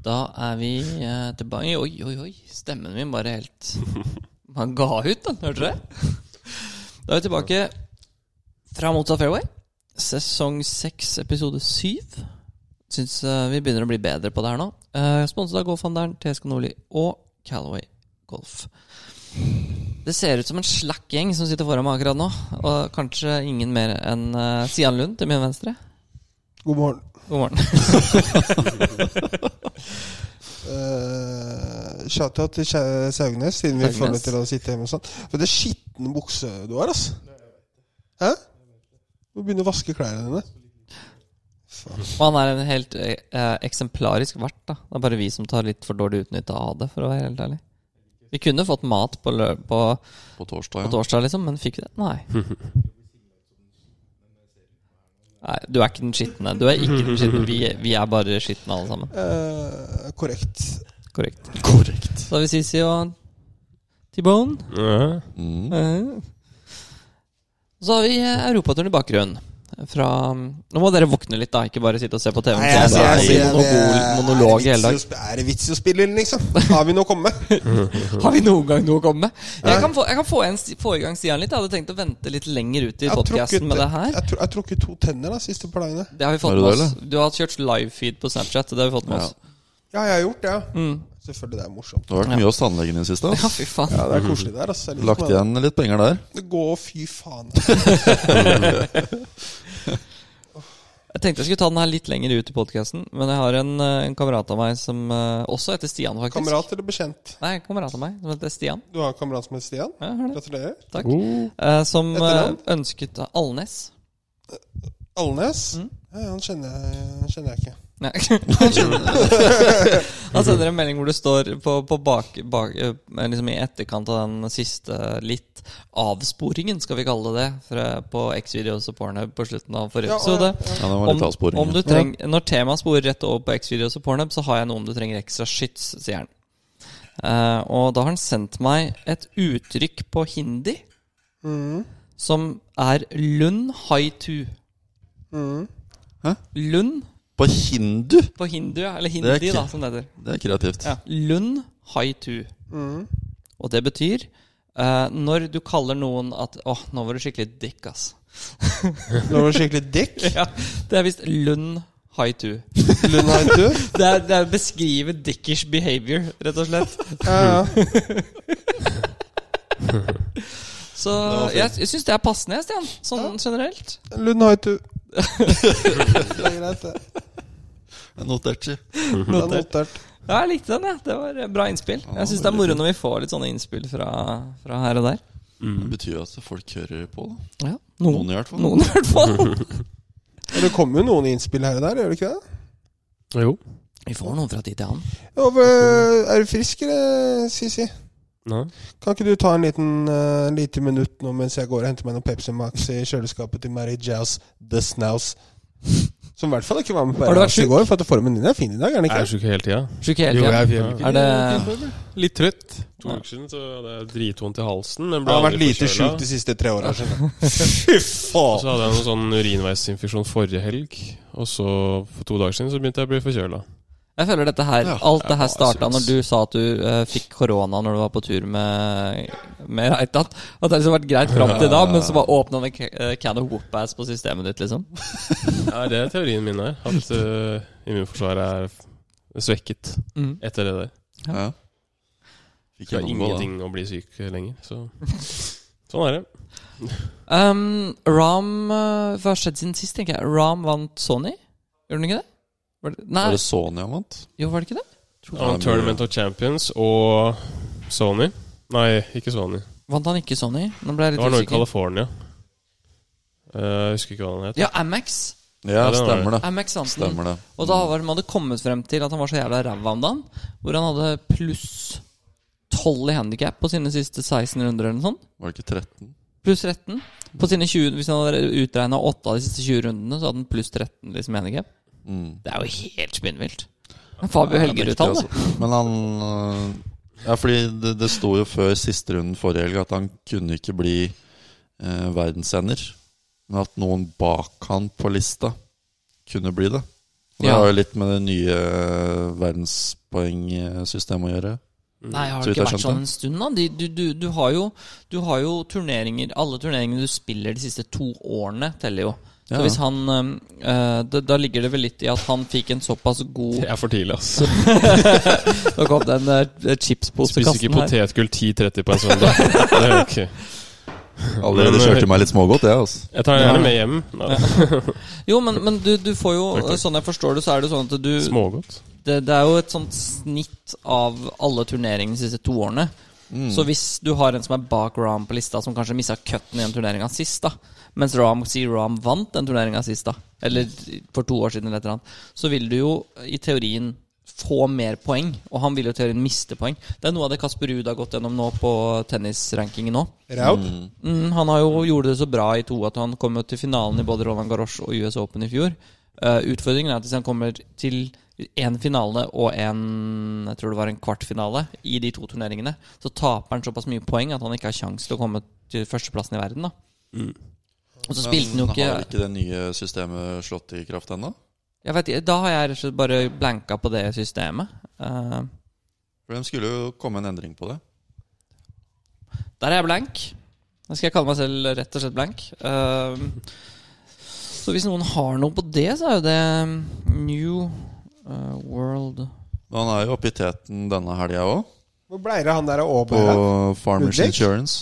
Da er vi eh, tilbake Oi, oi, oi. Stemmen min bare helt Man ga ut, da. Hørte dere? det? Da er vi tilbake fra motsatt fairway. Sesong seks, episode syv. Syns eh, vi begynner å bli bedre på det her nå. Uh, Sponset av Golfhandelen, TSK Nordli og Calaway Golf. Det ser ut som en slakk gjeng som sitter foran meg akkurat nå. Og kanskje ingen mer enn eh, Sian Lund til min venstre. God morgen. God morgen. Uh, Shout-out til Kjæ- Saugnes, siden vi Saugnes. får lov til å sitte hjemme og sånn. For det er skitten bukse du har, ass. Hæ? Du må begynne å vaske klærne dine. Faen. Og han er en helt eh, eh, eksemplarisk vert. da Det er bare vi som tar litt for dårlig utnytte av det, for å være helt ærlig. Vi kunne fått mat på, lø på, På torsdag, på ja. torsdag, liksom, men fikk vi det? Nei. Nei, Du er ikke den skitne. Du er ikke den skitne. Vi, vi er bare skitne, alle sammen. Eh, korrekt. Korrekt. Korrekt. Så har vi Sisi og T-Bone. Mm. Eh. Så har vi eh, Europaturen i bakgrunnen. Fra Nå må dere våkne litt, da. Ikke bare sitte og se på TV. Nei, jeg Det sier- jeg blir sier det monopol- er- monolog er det hele dag. vits i å sp- Er det vits i å spille inn, liksom? Har vi noe å komme med? Har vi noen gang noe å komme med? Jeg kan få, jeg kan få, en, få i gang Stian litt. Jeg hadde tenkt å vente litt lenger ut i Jeg har trukket- podkasten med det her. Jeg tru- jeg har trukket to tenner da, siste par dagene. Det har vi fått Har du med det, oss. Du har kjørt livefeed på Snapchat. Det har vi fått med Ja. oss. Ja, jeg har gjort det, ja. Mm. Selvfølgelig, det er morsomt. Det har vært mye hos tannlegen i det siste. Ja, ass. fy faen. Ja, det er koselig der, ass. Jeg liker Lagt meg. igjen litt penger der. Det går fy faen. Jeg tenkte jeg skulle ta den her litt lenger ut i podkasten, men jeg har en, eh, en kamerat av meg som eh, også heter Stian, faktisk. Kamerat eller bekjent? Nei, en kamerat av meg som heter Stian. Du har en kamerat som heter Stian? Ja, hør det. Gratulerer. Takk. Eh, som eh, Etternavn? ønsket Alnes. Alnes? Mm. Ja, han kjenner jeg, han kjenner jeg ikke. Nei. Han sender en melding hvor det står på, på bak, bak, eh, liksom i etterkant av den siste litt avsporingen, skal vi kalle det, fra, på X-Videos og Pornhub på slutten av forrige Ja, episode. Ja, det var Om, litt avsporing. om du treng, når temaet sporer rett over på X-Videos og Pornhub, så har jeg noe om du trenger ekstra skyts, sier han. Eh, og da har han sendt meg et uttrykk på hindi Mm. som er lund haitu. Mm. Hæ? Lund På hindu! på hindu, eller Det er hindi, ikke- da, som det heter. Det er kreativt. Ja. Lund haitu. Mm. Og det betyr eh, når du kaller noen at Å, nå var du skikkelig dick, ass. Nå var du skikkelig dick. Ja, det er visst lund haitu. Lund har en tur. Det er, det er å beskrive dickish behavior, rett og slett. Ja, ja. Så jeg, jeg syns det er passende, jeg, Stian. Sånn generelt. Lund har en tur. Det er greit, det. Notert. Det er notert. Ja, jeg likte den, jeg. Det var bra innspill. Jeg syns det er moro når vi får litt sånne innspill fra, fra her og der. Mm. Det betyr jo at folk hører på, da. Ja, Noen i hvert fall. Noen i hvert fall. Ja, Det kommer jo noen innspill her og der, gjør det ikke det? Jo. Vi får noen fra tid til annen. Ja, hva- er du frisk, eller, Sisi? Nei. Kan ikke du ta en liten eh, lite minutt nå mens jeg går og henter meg noen Pepsi Max i kjøleskapet til Mary Jaus The Snaus? Som i hvert fall ikke var med på Har du vært RS i syk? går, for at formen din er fin i dag, er den Jeg ikke? er sjuk hele tida. Sjuk hele tiden. Er det Litt trøtt. To Ja. uker siden så hadde jeg dritvondt i halsen. Men Jeg ble har vært aldri lite forkjøla. sjuk de siste tre åra. Fy Og faen! så hadde jeg noen sånn urinveisinfeksjon forrige helg. Og så for to dager siden så begynte jeg å bli forkjøla. Jeg føler dette her Ja, Alt det her jeg starta synes- når du sa at du eh, fikk korona når du var på tur med, med Reitan. At det har liksom vært greit fram til da, men så bare åpna en ca- eh, can of whoop-ass på systemet ditt, liksom. Ja, det er teorien min her. At eh, immunforsvaret er svekket Mm. etter det der. Ja. Fikk Så det jeg er noe på, ingenting å bli syk lenger. Så sånn er det. Um, Ram eh, Hva har skjedd siden sist, tenker jeg? Ram vant Sony? Gjorde den ikke det? Var det da. nei, Var det Sony han vant? jo, var det ikke det? Ja, Tournament of Champions og Sony. Nei, ikke Sony. Vant han ikke Sony? Nå ble jeg Det litt var noe i usikker. California. Eh, jeg husker ikke hva den het. Ja, Amax. Ja, det var stemmer det. Amax vant den. Stemmer det. Og da var man hadde kommet frem til at han var så jævla ræva om dagen, hvor han hadde pluss 12 i handikap på sine siste 16 runder eller noe sånt. Var det ikke 13? Pluss 13. På sine 20, hvis han hadde utregna 8 av de siste 20 rundene, så hadde han pluss 13 liksom i handikap. Mm. Det er jo helt spinnvilt. Men Fabio Ja, Helgerud-tall, det. altså. Men han øh, Ja, fordi det, det sto jo før siste runden forrige helg at han kunne ikke bli eh, verdensener. Men at noen bak han på lista kunne bli det. Det Ja. har jo litt med det nye eh, verdenspoengsystemet å gjøre. Nei, har Så det vidt jeg ikke vært skjønte. sånn en stund, da? De, du, du, du, har jo, du har jo turneringer Alle turneringene du spiller de siste to årene, teller jo. Så Ja. hvis han øhm, øh, da, da ligger det vel litt i at han fikk en såpass god Det er for tidlig, altså. Nå kom den uh, Spiser ikke chipsposekassen her. potetgull 10.30 på en søndag. Det er jo ikke Allerede kjørte meg litt smågodt, jeg, altså. Jeg tar den gjerne med hjem. Nei, Jo, men, men du, du får jo Takk, takk. Sånn jeg forstår det, så er det sånn at du Smågodt. det, det er jo et sånt snitt av alle turneringene de siste to årene. Så hvis du har en som er bak Ram på lista, som kanskje missa cutten i den turneringa sist, da mens Ram sier Ram vant den turneringa sist, da eller for to år siden, eller et eller annet, så vil du jo i teorien få mer poeng, og han vil jo i teorien miste poeng. Det er noe av det Kasper Ruud har gått gjennom nå på tennisrankingen nå. Raud? Mm, han har jo gjorde det så bra i to at han kom jo til finalen i både Roland Garros og US Open i fjor. Eh, utfordringen er at hvis han kommer til én finale og en Jeg tror det var en kvartfinale i de to turneringene, så taper han såpass mye poeng at han ikke har kjangs til å komme til førsteplassen i verden. da Og så spilte Mm. eh, han jo ikke Har ikke det nye systemet slått i kraft ennå? jeg vet, ikke, Da har jeg rett og slett bare blanka på det systemet. Eh, For de skulle jo komme en endring på det. Der er jeg blank. Da skal jeg kalle meg selv rett og slett blank. Ehm, så hvis noen har noe på det, så er jo det mm, New eh, World Men han er jo oppe i teten denne helga òg, Hvor blei det av han der av på Åberg? da? Farmers Ludvig? Insurance.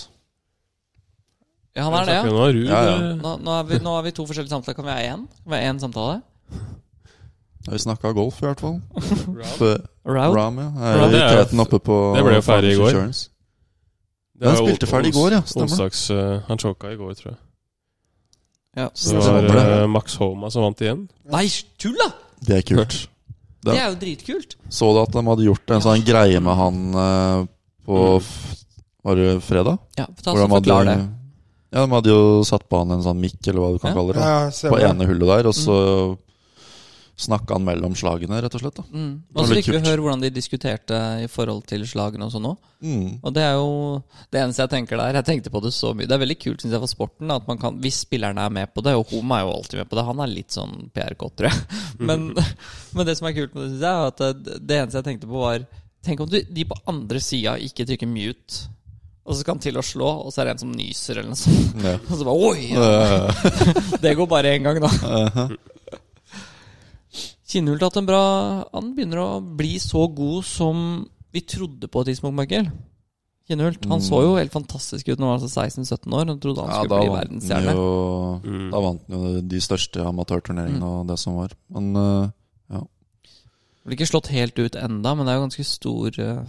Ja, han er det, ja. Nå er Ruud Ja, ja. eh, Nå, nå, er vi, nå har vi to forskjellige samtaler. Kan vi ha én? Kan vi ha én samtale? Da har vi snakka golf, i hvert fall. For Route? eh, Ram, ja. Ja, Er det i er jo- teten oppe på det ble jo ferdig i Farmers går. Insurance. det er Den spilte jo ferdig i går, ja, stemmer. Onsdags, eh, han choka i går, tror jeg. Ja. Så det Stemmer var det. eh, Max Homa som vant igjen. Nei, tull, da! Det er kult. Det Ja. er jo dritkult. Så du at de hadde gjort en sånn greie med han eh, på Mm. f- Var det fredag? Ja, ta Hvor så de hadde- Forklar det. Ja, De hadde jo satt på han en sånn mikk, eller hva du kan Ja. kalle det. da, Ja, På stemmer. det. ene hullet der, og så snakka han mellom slagene, rett og slett. da Mm. var Og så litt fikk vi kult. høre hvordan de diskuterte i forhold til slagene og sånn òg. mm. Og det er jo det eneste jeg tenker der. Jeg tenkte på det så mye. Det er veldig kult, synes jeg, for sporten at man kan Hvis spillerne er med på det, og Homa er jo alltid med på det Han er litt sånn PR-kåt, tror jeg. Men, men det som er kult med det, synes jeg, er at eh, det, det eneste jeg tenkte på, var Tenk om du, de på andre sida ikke trykker mute, og så skal han til å slå, og så er det en som nyser, eller noe sånt. ja. Og så bare Oi! Det går bare én gang, da. Kinnhult har hatt en bra Han begynner å bli så god som vi trodde på et tidspunkt, Michael. Kinnhult. Han så jo helt fantastisk ut når han var 16-17 år. Han trodde han Eh, Ja, skulle da bli vant han verdensstjerne. Mm. jo Mm. Da vant han jo de største amatørturneringene og det som var. Men eh, Blir ikke slått helt ut enda, men det er jo ganske stor eh,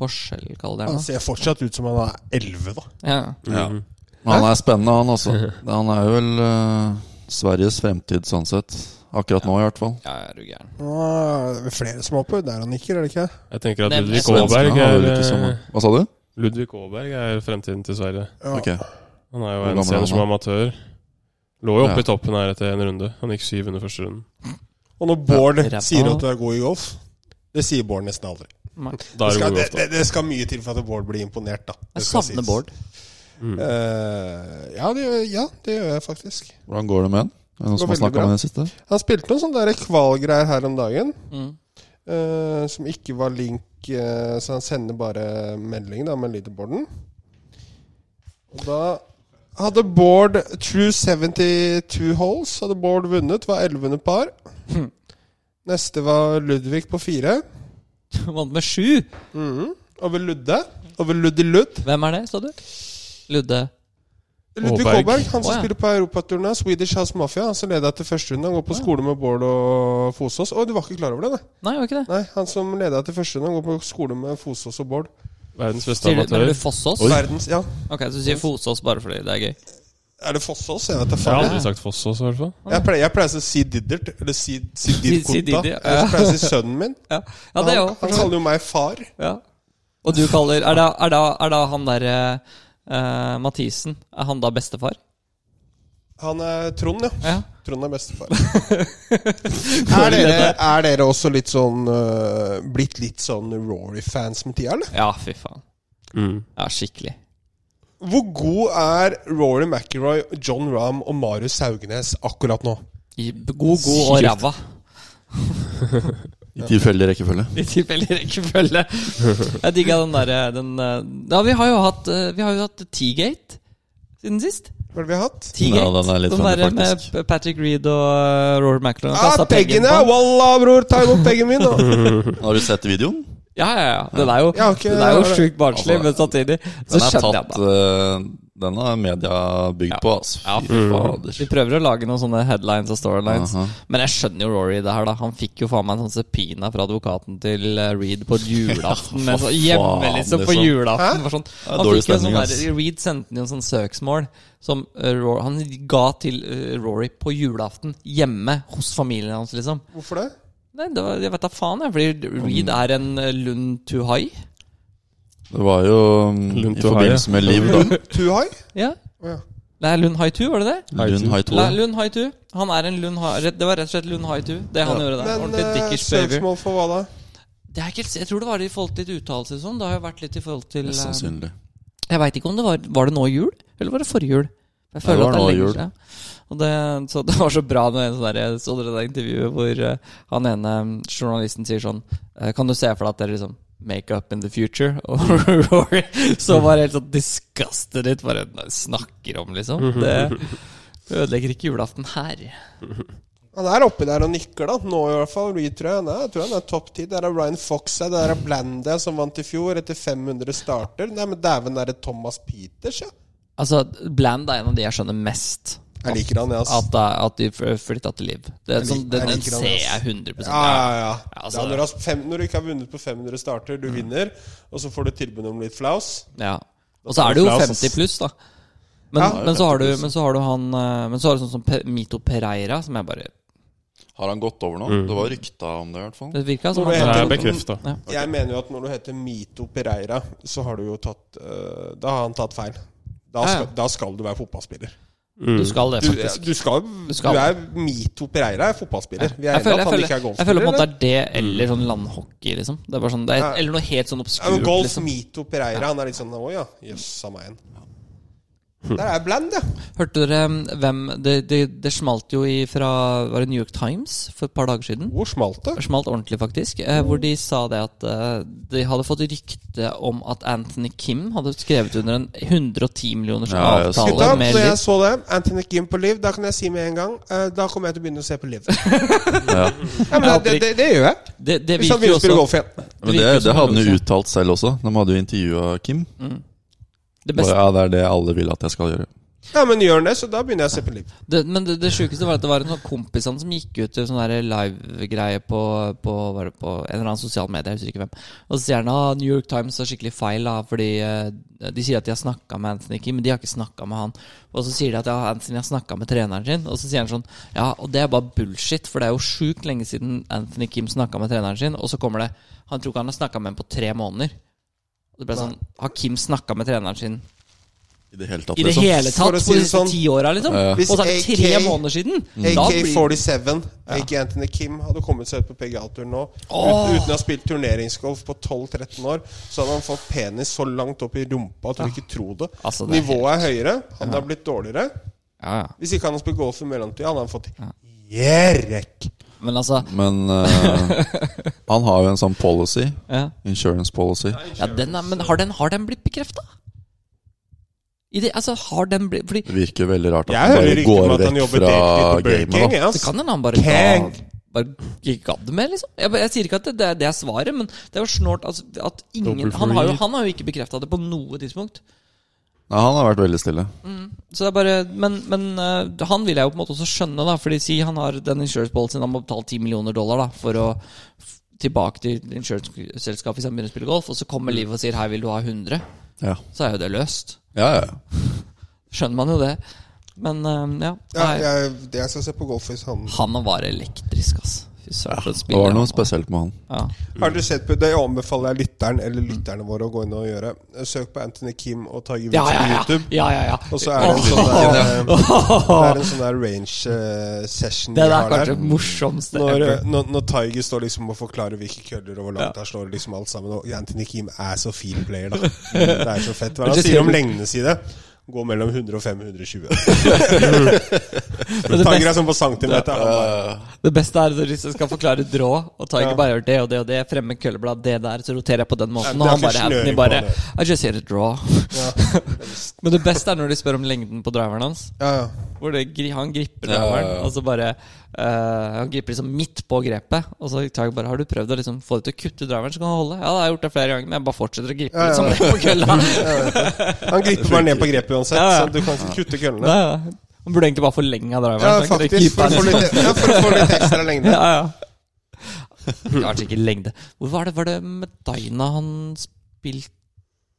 forskjell, kaller det Han det. ser fortsatt ut som han er 11, da. Ja. Ja. Mhm. Men han er spennende, han også. Han er jo vel eh, Sveriges fremtid sånn sett. Akkurat nå, i hvert fall. ja, er du gæren. Nå er det vel flere som er oppe der han nikker, er det ikke? det? Jeg tenker at Det er Ludvig nesten- Aaberg Svenskene har er, vel ikke så eh, mange. Hva sa du? Ludvig Aaberg er fremtiden til Sverige. Ja. Ok. Han Hvor er gammel jo en er han senior som da? amatør. Lå jo oppe Ja. i toppen her etter en runde. Han gikk syv under første runden. Og når Bård ræva. sier at du er god i golf Det sier Bård nesten aldri. Nei. Det Da er det skal, god det, ofte. det, det skal mye til for at Bård blir imponert, da. Det Jeg skal savner sies. Bård. Eh, ja, det gjør, ja, det gjør jeg faktisk. Hvordan går det med han? Er det noen Det som går har snakka veldig med den siste? Han spilte noen sånne der kvalgreier her om dagen, Mm. eh, som ikke var link, eh, så han sender bare melding da med leaderboarden. Og da hadde Bård True 72 holes, hadde Bård vunnet, var 11 under par. Hm. Neste var Ludvig på fire. Vant med sju! Mm. Mhm. Over Ludde. Over Luddi Ludd. Hvem er det, sa du? Ludde. Ludvig Åberg. Håberg, han som Å, ja. spiller på europaturen av Swedish House Mafia. Han som leda etter første runde. Han går på skole med Bård og Fosås. Å, du var ikke klar over det, nei? Nei, var ikke det? Nei, han som leda etter første runde, han går på skole med Fosås og Bård. Verdens beste Sier du, amatør. mener du Fossås? Verdens, ja. Ok, så du sier Fosås bare fordi det er gøy. Er det Fossås? Jeg vet da Jeg har faen. aldri sagt Foss også, i hvert fall. Jeg pleier, jeg pleier å si Diddert, eller si, si Si Dirkonta. Diddy, ja. Jeg pleier å si sønnen min. Ja, ja det han, òg. han kaller jo meg far. Ja. Og du kaller Er da, er da, er da han derre eh, Mathisen Er han da bestefar? Han er Trond, ja. Ja. Trond er bestefar. er, dere, er dere også litt sånn øh, blitt litt sånn Rory-fans med tida, eller? Ja, fy faen. Mm. Ja, skikkelig. Hvor god er Rory McIlroy, John Rahm og Marius Haugnes akkurat nå? I- God, god og Sykt. ræva. I tilfeldig rekkefølge. I tilfeldig rekkefølge. Jeg digga den derre den eh, Ja, vi har jo hatt eh, Vi har jo hatt T-Gate siden sist. Hva er det vi har hatt? T-Gate. Ja, den er litt funny, der med faktisk. P- Patrick Reed og eh, Rory McIlroy. Ah, kastet peggen, peggen på ja! han. Wallah, bror! Ta imot peggen min, nå! Har du sett videoen? Ja, ja, ja. Den er jo, Jeg har ikke- den er jo jeg har- sjukt barnslig, men samtidig så Den er skjønner jeg tatt det. eh, Den har media bygd på, altså. Ja. Fy fader. Vi prøver å lage noen sånne headlines og storylines. Aha. Men jeg skjønner jo Rory i det her, da. Han fikk jo faen meg en sånn sepina fra advokaten til eh, Reed på julaften. Men så faen, hjemme, liksom, på liksom. julaften. for Sånn. er Han dårlig fikk jo en stemning, sånn der, ass. Reed sendte inn en sånn søksmål som eh, Rory, han ga til eh, Rory på julaften hjemme hos familien hans, liksom. Hvorfor det? Nei, det var, jeg vet da faen, jeg. Fordi Reed Mm. er en eh, lund to high. Det var jo mm, Lund i to forbindelse med Liv, da. Too high? Ja. Å, ja. Det er lund high two, var det det? Lund High Tour. La, Lund high two. Han er en lund high Det var rett og slett lund high two, det han gjorde der. Men Ordentlig eh, dickish baby. søksmål for hva da? Det er ikke, helt- jeg tror det var i forhold til litt uttalelser og sånn. Det har jo vært litt i forhold til Mest eh, sannsynlig. Jeg veit ikke om det var Var det nå jul, eller var det forrige jul? Jeg det var at nå er lenge jul. siden. Og det, så det var så bra når en sånn der, jeg så dere det intervjuet hvor eh, han ene eh, journalisten sier sånn eh, Kan du se for deg at det er liksom make up in the future? Og Rory så bare helt sånn disgusted litt, bare "Nei, snakker om, liksom. Mhm. Det ødelegger ikke julaften her. Han er oppi der og nikker, da. Nå i hvert fall. Reed, tror jeg. Nei, jeg tror han er topp ti. Der er Ryan Fox her. Der er Blanda, som vant i fjor, etter 500 starter. Nei, men dæven, der er Thomas Peters, ja. Altså, Bland er en av de jeg skjønner mest. Jeg liker han, jeg, ass. At, det er- at de f- flytta til liv. Det er Jeg sånn, liker- den, jeg den liker han, ser ass. jeg 100 Ja, ja, ja. altså- Mm. ja når, du har fem, når du ikke har vunnet på 500 starter, du vinner, og så får du tilbud om litt flaus Ja. Og så er det jo 50 pluss, da. Men, Ja. men, så har du, men så har du han eh, Men så har du sånn som Pe Mito Pereira, som jeg bare Har han gått over nå? Det var rykta om det, i hvert fall. Det virka som Hvor Det det han sånn- er bekrefta. Ja. Jeg mener jo at når du heter Mito Pereira, så har du jo tatt eh, Da har han tatt feil. Da Ja, ja. skal, da skal du være fotballspiller. Du skal det, Du, faktisk. du, skal, Du du, skal. er Mito Pereira er fotballspiller. Vi Jeg er enige føler, om jeg, at han føler, ikke er jeg føler på en måte golfspiller. eller? Mm. det er det, eller sånn landhockey, liksom. Det er bare sånn, det er, Ja. eller noe helt sånn Ja, men obskurt. golf Liksom. Mito Pereira, han er litt sånn Å ja, jøssa meg igjen. Hm. Der er Bland, ja. Hørte dere um, hvem Det, det, det smalt jo i fra Var det New York Times for et par dager siden? Hvor smalt det? Det smalt ordentlig, faktisk. Eh, hvor de sa det at eh, de hadde fått rykte om at Anthony Kim hadde skrevet under en 110 millioners Ja, jeg så avtale Gutta, med når Liv. jeg så det, Anthony Kim på Liv, da kan jeg si med en gang eh, Da kommer jeg til å begynne å se på Liv. Ja. Ja, men det, det, det gjør jeg. Det, det Hvis han virker jo begynner å spille også golf igjen. Men det, virker det som hadde han også. jo uttalt selv også. De hadde jo intervjua Kim. det Og beste, ja, det er det alle vil at jeg skal gjøre. Ja, men gjør han det, så da begynner jeg å se på Liv. det, Men det, det sjukeste var at det var en sånn kompis han som gikk ut i sånn der live-greie på, på, var det på en eller annen sosial medie, jeg husker ikke hvem. Og så sier han at New York Times har skikkelig feil, da, fordi eh, de sier at de har snakka med Anthony Kim, men de har ikke snakka med han. Og så sier de at ja, Anthony har snakka med treneren sin, og så sier han sånn Ja, og det er bare bullshit, for det er jo sjukt lenge siden Anthony Kim snakka med treneren sin, og så kommer det Han tror ikke han har snakka med ham på tre måneder. Og det ble sånn Har Kim snakka med treneren sin I det hele tatt, I det liksom. hele tatt For å på si de det siste sånn, ti åra, liksom? ja. Og så er det Hvis tre AK måneder siden! Mm. Da blir AK47, AK Anthony Kim, hadde kommet seg ut på PGA-turen nå uten, uten å ha spilt turneringsgolf på 12-13 år, så hadde han fått penis så langt opp i rumpa at du ikke tror det. Altså, det er Nivået er høyere, han har blitt dårligere. ja, ja. Hvis ikke han hadde spilt golf i mellomtida, hadde han fått jerek. Men altså Men eh, han har jo en sånn policy. ja. Insurance policy. Ja, den er, Men har den, har den blitt bekrefta? I det, altså, har den blitt Fordi Det virker veldig rart at Jeg hører han bare rykter om at går han vekk jobber fra deltid på Burger King. gamet. da. ja, det ass. kan hende han bare Kang. ga, bare ikke gadd mer, liksom. Jeg, bare- jeg sier ikke at det, det, er, det er svaret, men det er jo snålt altså, at ingen Dobbelt han har, jo, free. han har jo ikke bekrefta det på noe tidspunkt. Nei, han har vært veldig stille. Så det er bare Men, men eh, han vil jeg jo på en måte også skjønne, da. Fordi si han har den insurance policyen han må betale 10 millioner dollar da for å f- tilbake til insurance-selskapet hvis han begynner å spille golf, og så kommer Mm. Liv og sier 'her vil du ha 100', Ja, så er jo det løst. ja, ja. Skjønner man jo det. Men eh, ja. Ja, Nei, jeg, det jeg skal se på golf sånn- hvis han Han var elektrisk, ass. Fy søren, for en Det spiller. var han noe spesielt med han. Ja. Har du sett på Det anbefaler jeg lytteren eller lytterne våre å gå inn og gjøre. Søk på Anthony Kim og ta Givits Ja, ja, på ja. YouTube. ja, ja, ja. Og så er det en sånn der, det er en sånn der range eh, session Det vi der er har der. kanskje det morsomste. Når, ever. eh, når, når Tiger står liksom og forklarer hvilke køller og hvor langt han slår, liksom alt sammen. Og Anthony Kim er så fin player, da. Det er så fett. Hva er det han sier om lengdene sine? Gå mellom 105 og 120. Men det, Tanger beste, er sånn på centimeter. han bare, det beste er når jeg skal forklare drå, og Tiger Ja. bare gjør det og det og det, fremme kølleblad, det der, så roterer jeg på den måten, Ja, og det er han bare ikke Anthony snøring på bare det. I just hit a draw. Ja. Men det beste er når de spør om lengden på driveren hans. Ja, ja. Hvor det, gri- han griper Ja, ja, ja. driveren, og så bare eh, Han griper liksom midt på grepet. Og så tar jeg bare Har du prøvd å liksom få det til å kutte driveren, så kan han holde. Ja, da har jeg gjort det flere ganger, men jeg bare fortsetter å gripe Ja, ja, litt sånn ned på kølla. Han griper bare ned på grepet uansett, Ja, ja. så du kan ikke kutte køllene. Ja, ja. Han burde egentlig bare forlenga driveren. Ja, så han kunne faktisk. keepa For å få den. litt, ja, for å få litt ekstra lengde. Ja, ja. Klart ikke lengde. Hvor var det, var det med Dyna han spilte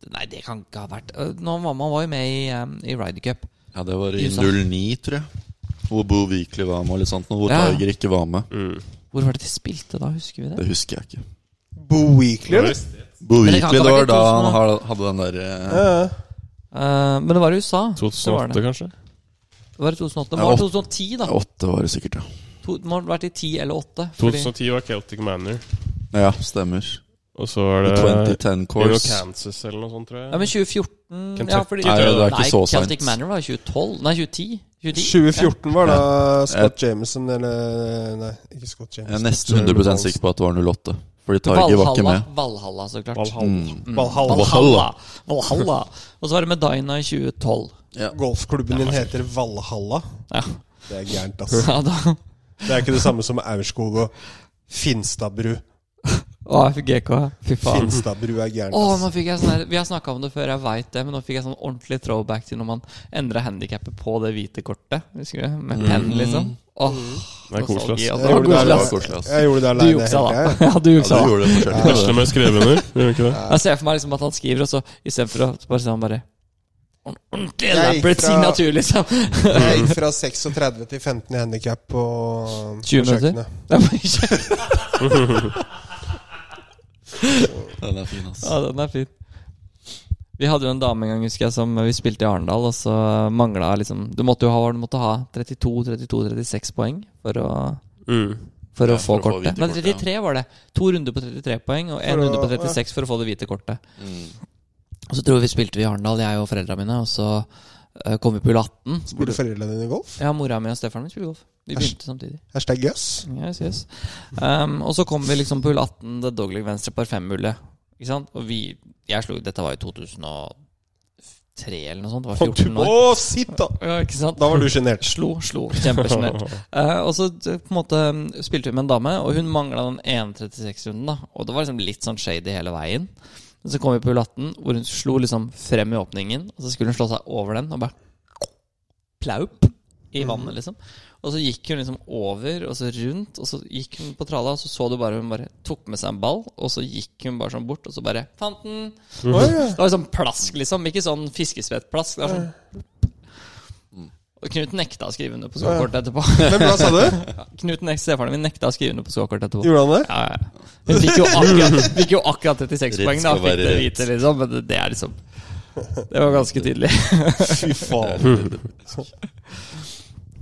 Nei, det kan ikke ha vært Øh, Nå, Mamma var jo med i, um, i Ryder Cup. Ja, det var i Ikke sant? 09, tror jeg. Hvor Bo Weekly var med, og litt sånt, og hvor Ja. Tiger ikke var med. Mm. Hvor var det de spilte da? Husker vi det? Det husker jeg ikke. Bo Weekly, eller? Bo Men det kan ikke Weekly, ha det var vært da i 2000, han har- hadde den der eh, Ja, ja. Eh, men det var i USA. Det var 2008, det. kanskje? Det var i 2008. Det Ja, var åt- 2010, da. Åtte var det sikkert, ja. To, det må ha vært i 10 eller 8. Fordi, 2010 var Celtic Manor. Ja, stemmer. Og så var Eh, The det 2010 Rio course. Kansas eller noe sånt, tror jeg. ja, men 2014 Kentucky. ja, fordi, Nei, det er ikke så sent. Celtic Manor var i 2012. Nei, 2010. 2010. 2014 var da Scott Jameson eller Nei, ikke Scott Jeg er Jameson. nesten 100 sikker på at det var 08. Fordi Tiger var ikke Valhalla, med. Valhalla, så klart. Valhalla. Mm. Valhalla. Valhalla. Valhalla. Og så var det med Dyna i 2012. Golfklubben din heter Valhalla. Ja, Det er gærent, altså. ja da. Det er ikke det samme som Aurskog og Finstadbru. Å, jeg fikk GK. Fy faen. Finstadbru er gærent, Å, nå altså. fikk jeg sånn her Vi har snakka om det før, jeg veit det, men nå fikk jeg sånn ordentlig throwback til når man endra handikappet på det hvite kortet. Husker du? Mm. Med penn, liksom. Åh, Det er koselig, ass. nostalgi, altså. Jeg gjorde det Koselig, ass. der Det var koselig, ass. Jeg gjorde det Du aleine juksa, hele da. tida. Ja, du Ja, juksa. du da. gjorde det forskjellig. Første med skrevet under, gjør du ikke det? Jeg ser for meg liksom at han skriver, og så istedenfor å bare sånn bare "Ord- Ordentlig Jeg gikk elaborate fra- signatur, liksom. Jeg gikk fra 36 til 15 i handikap på 20 på minutter? kjøkkenet. Det er bare ikke- Den er fin, ass. ja, den er fin. Vi hadde jo en dame en gang, husker jeg, som vi spilte i Arendal, og så mangla liksom Du måtte jo ha, du måtte ha 32, 32, 36 poeng for å Mm. for Ja, å få for å få kortet. hvite Nei, kortet, 33 var det. To runder på 33 poeng og én For å- runde på 36 for å få det hvite kortet. Mm. Og så tror jeg vi spilte vi i Arendal, jeg og foreldra mine, og så eh, kom vi på hull 18. hvor Spiller foreldrene dine golf? Ja, mora mi og stefaren min spiller golf. Vi begynte samtidig. Hashtag jøss. Yes, yes. Um, og så kom vi liksom på hull 18, det dogleg venstre par fem-hullet. Ikke sant? Og vi Jeg slo Dette var i 2003 eller noe sånt. Det var 14 Å, år. sitt, da! Ja, ikke sant? Da var du sjenert. Slo, slo. Kjempesjenert. Eh, og så eh, på en måte mm, spilte vi med en dame, og hun mangla den ene 36-runden. da Og det var liksom litt sånn shady hele veien. Men så kom vi på hull 18, hvor hun slo liksom frem i åpningen. Og så skulle hun slå seg over den, og bare plaup i vannet, liksom. Og så gikk hun liksom over, og så rundt, og så gikk hun på tralla, og så så du bare hun bare tok med seg en ball, og så gikk hun bare sånn bort, og så bare Fant den! Oi, ja. Det var sånn plask, liksom. Ikke sånn fiskesvettplask. Det var sånn Og Knut nekta å skrive under på skåkortet etterpå. Hvem da, sa du? Knut nek stefaren min nekta å skrive under på skåkortet etterpå. Gjorde han det? Ja, ja. ja. Hun fikk jo akkurat, fikk jo akkurat 36 Rett poeng, da. skal Fikk være det rett. hvite, liksom. Men det- det er liksom Det var ganske tydelig. Fy faen.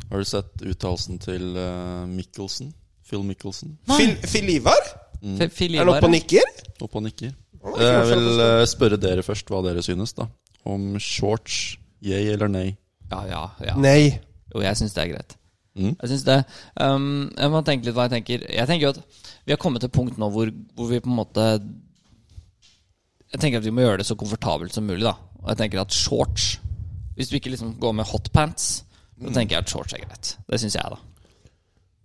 Har du sett uttalelsen til eh, Mickelson? Phil Mickelson? Phil, Phil Ivar? Mm. F- Phil Er han Ivar, oppe og nikker? Opp og nikker. Å, Jeg kanskje vil han eh, spørre dere først hva dere synes, da. Om shorts, yay eller nei? ja, ja, ja. Nei. Jo, jeg syns det er greit. Mm. Jeg synes det ehm, Jeg må tenke litt hva jeg tenker. Jeg tenker jo at vi har kommet til et punkt nå hvor, hvor vi på en måte Jeg tenker at vi må gjøre det så komfortabelt som mulig, da. Og jeg tenker at shorts Hvis du ikke liksom går med hotpants, så tenker jeg at shorts er greit. Det syns jeg, da.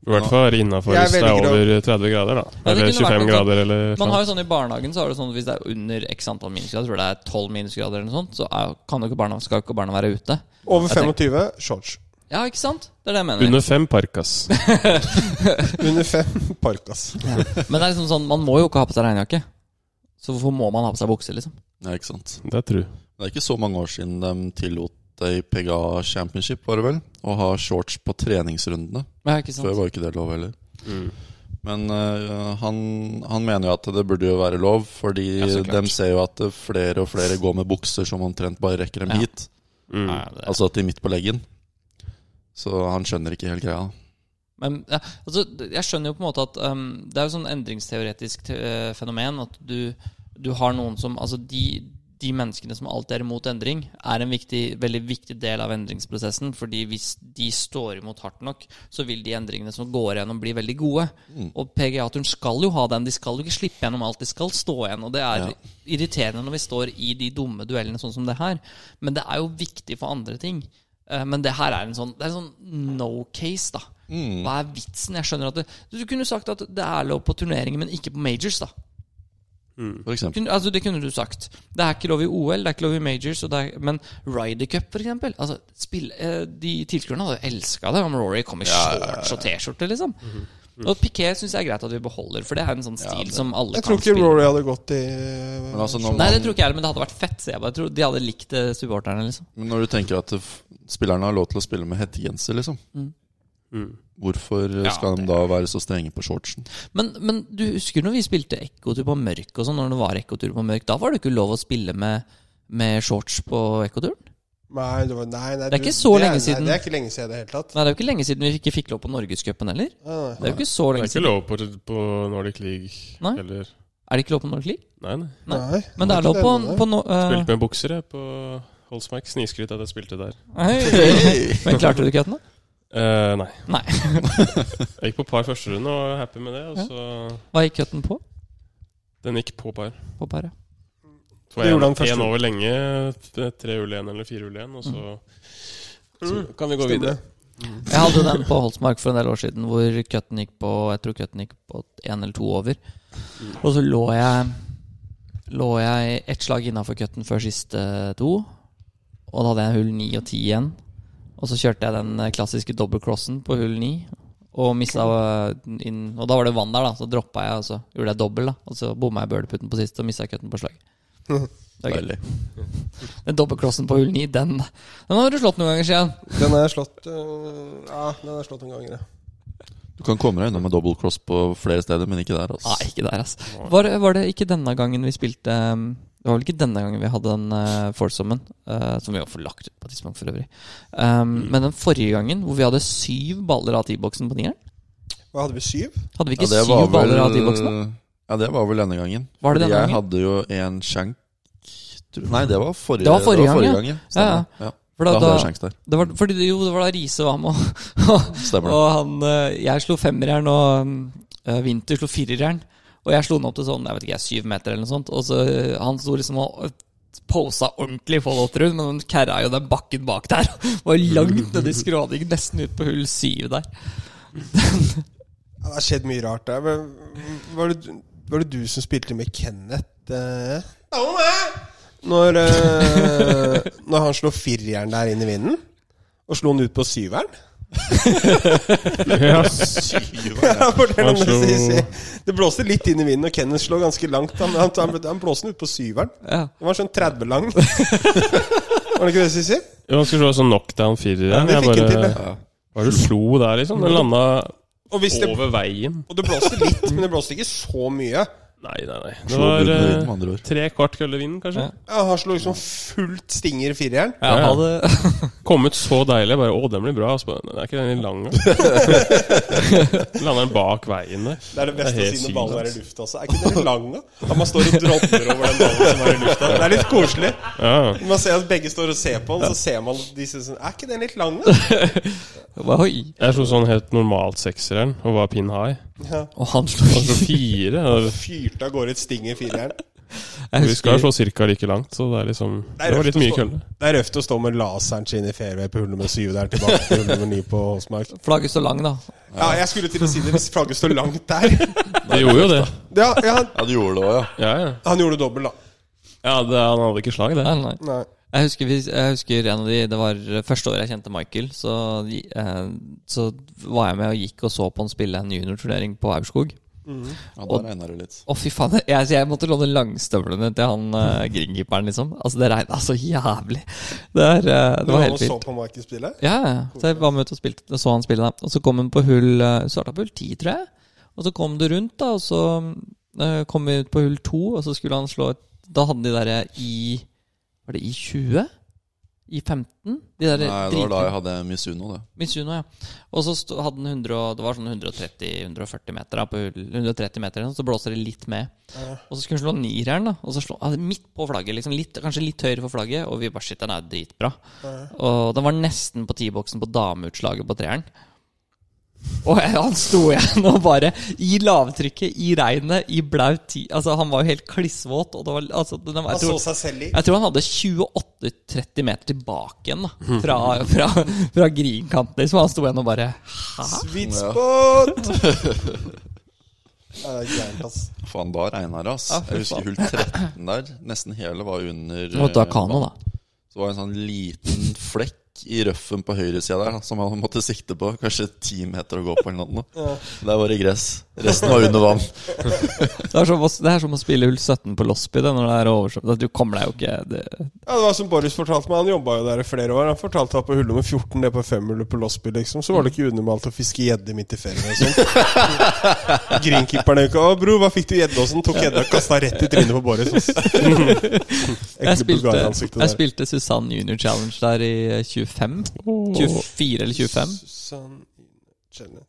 I hvert fall være innafor Jeg hvis det er velger å- over 30 grader, da. Ja, det Eller kunne vært 25 noe sånt. grader, eller et Man eller har annet. jo sånn I barnehagen så har du sånn hvis det er under x antall minusgrader, jeg tror det er 12 minusgrader eller noe sånt, så er, kan jo ikke barna, skal jo ikke barna være ute. Over Jeg 25, shorts. Ja, ikke sant? Det er det jeg mener. Under fem parkas. Under 5, parkas. Men det er liksom sånn, man må jo ikke ha på seg regnjakke. Så hvorfor må man ha på seg bukse, liksom? Ja, ikke sant? Det er tru. Det er ikke så mange år siden de tillot det i PGA Championship, var det vel? Å ha shorts på treningsrundene. Ja, ikke sant? Før var jo ikke det lov heller. Mm. Men eh, han, han mener jo at det burde jo være lov, fordi Ja, så klart. de ser jo at flere og flere går med bukser som omtrent bare rekker dem Ja. hit. Mm. Ja, det- Altså til midt på leggen. Så han skjønner ikke helt greia. Men ja, altså, jeg skjønner jo på en måte at ehm, det er jo sånn endringsteoretisk te- eh, fenomen at du, du har noen som Altså, de, de menneskene som alltid er imot endring, er en viktig, veldig viktig del av endringsprosessen. Fordi hvis de står imot hardt nok, så vil de endringene som går gjennom, bli veldig gode. Og PGA-turen skal jo ha den. De skal jo ikke slippe gjennom alt. De skal stå igjen. Og det er irriterende når vi står i de dumme duellene sånn som det her. Men det er jo viktig for andre ting. Eh, Men det her er en sånn, det er en sånn no case, da. Hva er vitsen? Jeg skjønner at det, Du kunne sagt at det er lov på turneringer, men ikke på majors, da. For eksempel. Kunne, altså, det kunne du sagt. Det er ikke lov i OL, det er ikke lov i majors, og det er, men Ryder Cup, for eksempel. Altså, spill, eh, de tilskuerne hadde jo elska det om Rory kom i shorts og T-skjorte, liksom. Og Piquet syns jeg er greit at vi beholder, for det er en sånn stil som alle Jeg kan tror ikke spille. Rory hadde gått i eh, Men altså, når Mm. Nei, det man tror ikke jeg heller, men det hadde vært fett. Så jeg bare tror de hadde likt det, supporterne, liksom. Men når du tenker at f- spillerne har lov til å spille med hettegenser, liksom Mm. Hvorfor eh, Ja, skal de da være så strenge på shortsen? Men, men du husker når vi spilte ekkotur på Mørk og sånn, når det var ekkotur på Mørk, da var det ikke lov å spille med, med shorts på ekkoturen? Nei, det var, nei, nei, Det er du- ikke så det er- lenge siden. Nei, det er ikke lenge siden i det hele tatt. Nei, det er jo ikke lenge siden vi ikke fikk lov på Norgescupen heller. Nei, nei. Det er jo ikke så Det er lenge ikke siden. lov på, på Nordic League Nei. heller. Er det ikke lov på Nordic League? Nei, nei. Nei. Nei. Men det er lov på, på no, eh, Spilte med bukser jeg, på Holsmark. Sniskryt at jeg spilte der. hei. Men klarte du ikke dette nå? Eh, nei. Nei. Jeg gikk på par første runde og var happy med det. Og Ja. så Hva gikk cutten på? Den gikk på par. På pæra. Det Så var gjorde han jeg første én runde. over lenge. Tre hull igjen eller fire hull igjen, og så Mm, kan vi gå Stemmer. videre. Jeg hadde den på Holsmark for en del år siden, hvor cutten gikk på Jeg tror cutten gikk på én eller to over. Og så lå jeg Lå jeg ett slag innafor cutten før siste to. Og da hadde jeg hull ni og ti igjen. Og så kjørte jeg den eh, klassiske dobbeltcrossen på hull ni. Og mista eh, inn Og da var det vann der, da. Så droppa jeg, og så gjorde jeg dobbel. da Og så bomma jeg birdieputten på siste, og mista cutten på slag. Det er gøy. Deilig. Den dobbeltcrossen på hull ni, den Den har du slått noen ganger siden. Den er slått øh, Ja, den er slått noen ganger, ja. Du kan komme deg unna med double cross på flere steder, men ikke der. Nei, Altså. ikke der, ass. Var, var det ikke denne gangen vi spilte um, Det var vel ikke denne gangen vi hadde den uh, foursomen, uh, som vi har fått lagt ut på et tidspunkt for øvrig. Mm. Um, Men den forrige gangen, hvor vi hadde syv baller av T-boksen på nieren Hva hadde vi? Syv? Hadde vi ikke syv baller av T-boksen? da? ja, det var vel denne gangen. Var det Fordi denne gangen? Jeg hadde jo en shank tror- Nei, det var forrige, Det var forrige gang, ja. ja. Ja, Stemmer. Ja, For Da, da, hadde jeg da, shank der. det var, fordi det, jo, det var da Riise var med, og, Stemmer det. og han uh, Jeg slo femmerjern, og um, uh, Winter slo firerjern. Og jeg slo den opp til sånn jeg vet ikke, syv meter eller noe sånt. Og så uh, han sto liksom og posa ordentlig i follow-through, men han kæra jo den bakken bak der. Var langt nedi skråningen, nesten ut på hull syv der. Ja, det har skjedd mye rart der. Men Var det, du- var det du som spilte med Kenneth? eh? Når, eh, når han slo fireren der inn i vinden, og slo den ut på syveren? Ja, fortell om Han slo- det, si, si. det blåste litt inn i vinden, og Kenneth slo ganske langt. Han, han, han, han blåste den ut på syveren. Ja. Den var sånn 30 lang. Var det ikke det, Sissi? Jo, han skulle slå sånn knockdown firer Ja, Mm. igjen. vi Jeg fikk bare den til, det. Hva er det du slo der, liksom? Den landa Og, hvis det, over veien. og det blåste litt, men det blåste ikke så mye. Nei, nei, nei. Slo Det var bunnen i vinden, eh, med andre ord. tre kvart kølle vind, kanskje. Ja. Ja, han slo liksom fullt stinger i fireren. Jeg Ja. hadde, Kom ut så deilig. Bare, Å, den blir bra. Altså, den er ikke den litt lang? da?» Lander den bak veien der. Det er det beste Det er helt siden sykt, ballen er i lufta også. Er ikke den lang, da? At man står og drodler over den ballen som er i lufta. Det er litt koselig. Ja. Man ser at begge står og ser på den, så ser man at de synes sånn Er ikke den litt lang, da? oi. Jeg slo sånn helt normalt sekseren og var pin high. Og han slo Altså fire. og Fyrte av gårde et sting i fireren. Jeg Vi skal husker slå cirka like langt, så det er liksom Det Det, er var røft litt å mye stå- kølle. Det er røft å stå med laseren sin i fairway på hull nummer syv der tilbake til hull nummer ni på Holsmark. flagget så lang, da. Ja, jeg skulle til å si det hvis flagget står langt der. Det gjorde jo det. Ja, ja, han- Ja, du gjorde det òg, ja. Ja, ja. han gjorde dobbel, da. ja det, han hadde ikke slag, det. Nei, nei. Nei. Jeg husker, vi- jeg husker en av de Det var eh, første året jeg kjente Michael. Så, eh, så var jeg med og gikk og så på han spille en juniorturnering på Aurskog. ja da regner det litt. Å, fy faen. Jeg, altså, jeg måtte låne langstøvlene til han uh, greenkeeperen, liksom. Altså, det regna så jævlig. Det, er, eh, Du det var var og helt så vilt. på Michael spille? Ja, ja. så jeg var med ut og spilte, og så han spille, da. Og så kom han på hull eh, Starta på hull ti, tror jeg. Og så kom du rundt, da, og så eh, kom vi ut på hull to, og så skulle han slå et Da hadde de derre i Var det i 20? I 15? De der Nei, det var da drit- jeg hadde Misuno, det. Mitsuno, ja. Og så sto- hadde den 100, og- det var sånn 130-140 meter da, på hull, 130 meter, eller noe, så blåser det litt med. Og så skulle hun slå nireren, da. Og så slå, ah, midt på flagget, liksom, litt, kanskje litt høyere for flagget, og vi bare shit, den er jo dritbra. Og den var nesten på T-boksen på dameutslaget på treeren. Og jeg, han sto igjen og bare I lavtrykket, i regnet, i blaut ti... Altså, han var jo helt klissvåt, og det var altså, den, jeg Han tror- så seg selv i. jeg tror han hadde 28-30 meter tilbake igjen da fra, fra, fra grinkanten. Liksom. Han sto igjen og bare Hæ? Sweet spot! Ja, det er gærent, ass. Faen, da regna det, ass. Ja, fy jeg husker hull 13 der. Nesten hele var under Du måtte ha eh, kano, vann. da. Så var det en sånn liten flekk i røffen på høyresida der da, som han måtte sikte på. Kanskje ti meter å gå på eller noe. Der var det gress. Resten var under vann. Det er, som å, det er som å spille hull 17 på Losby det, når det er oversvømt. Du kommer deg jo ikke det. Ja, det var som Boris fortalte meg, han jobba jo der i flere år. Han fortalte at på hull nummer 14, det på femhullet på Losby, liksom, så var det ikke unormalt å fiske gjedde midt i ferien og sånn. Greenkeeperen gikk 'Å, bro, hva fikk du gjedde?' og sånn. Tok gjedda og kasta rett i trynet på Boris. ass. Jeg Ekle spilte, bulgareransiktet jeg spilte Susann Junior Challenge der i 25. 24 eller 25. Susan Challenge.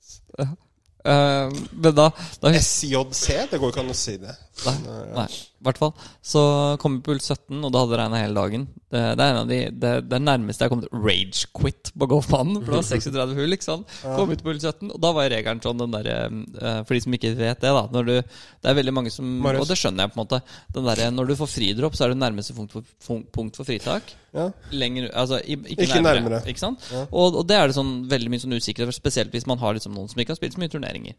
Eh, men da, da husker SJC? Det går ikke an å si det. eh, Nei, nei, i hvert fall. Så kom vi på hull 17, og da hadde det regna hele dagen. Det, det er en av de, det, det er nærmeste jeg kom til rage-quit på golfbanen. For det var 36 hull, ikke sant. Kom ut på hull 17, og da var regelen sånn den derre eh, For de som ikke vet det, da. Når du, det er veldig mange som Marius. Og det skjønner jeg, på en måte. Den derre når du får fridropp, så er det nærmeste punkt for, fun- punkt for fritak. Ja. Lenger, altså, i- ikke, Ikke nærmere. nærmere. Ikke sant? Og, og det er det sånn veldig mye sånn usikkerhet, spesielt hvis man har liksom noen som ikke har spilt så mye turneringer.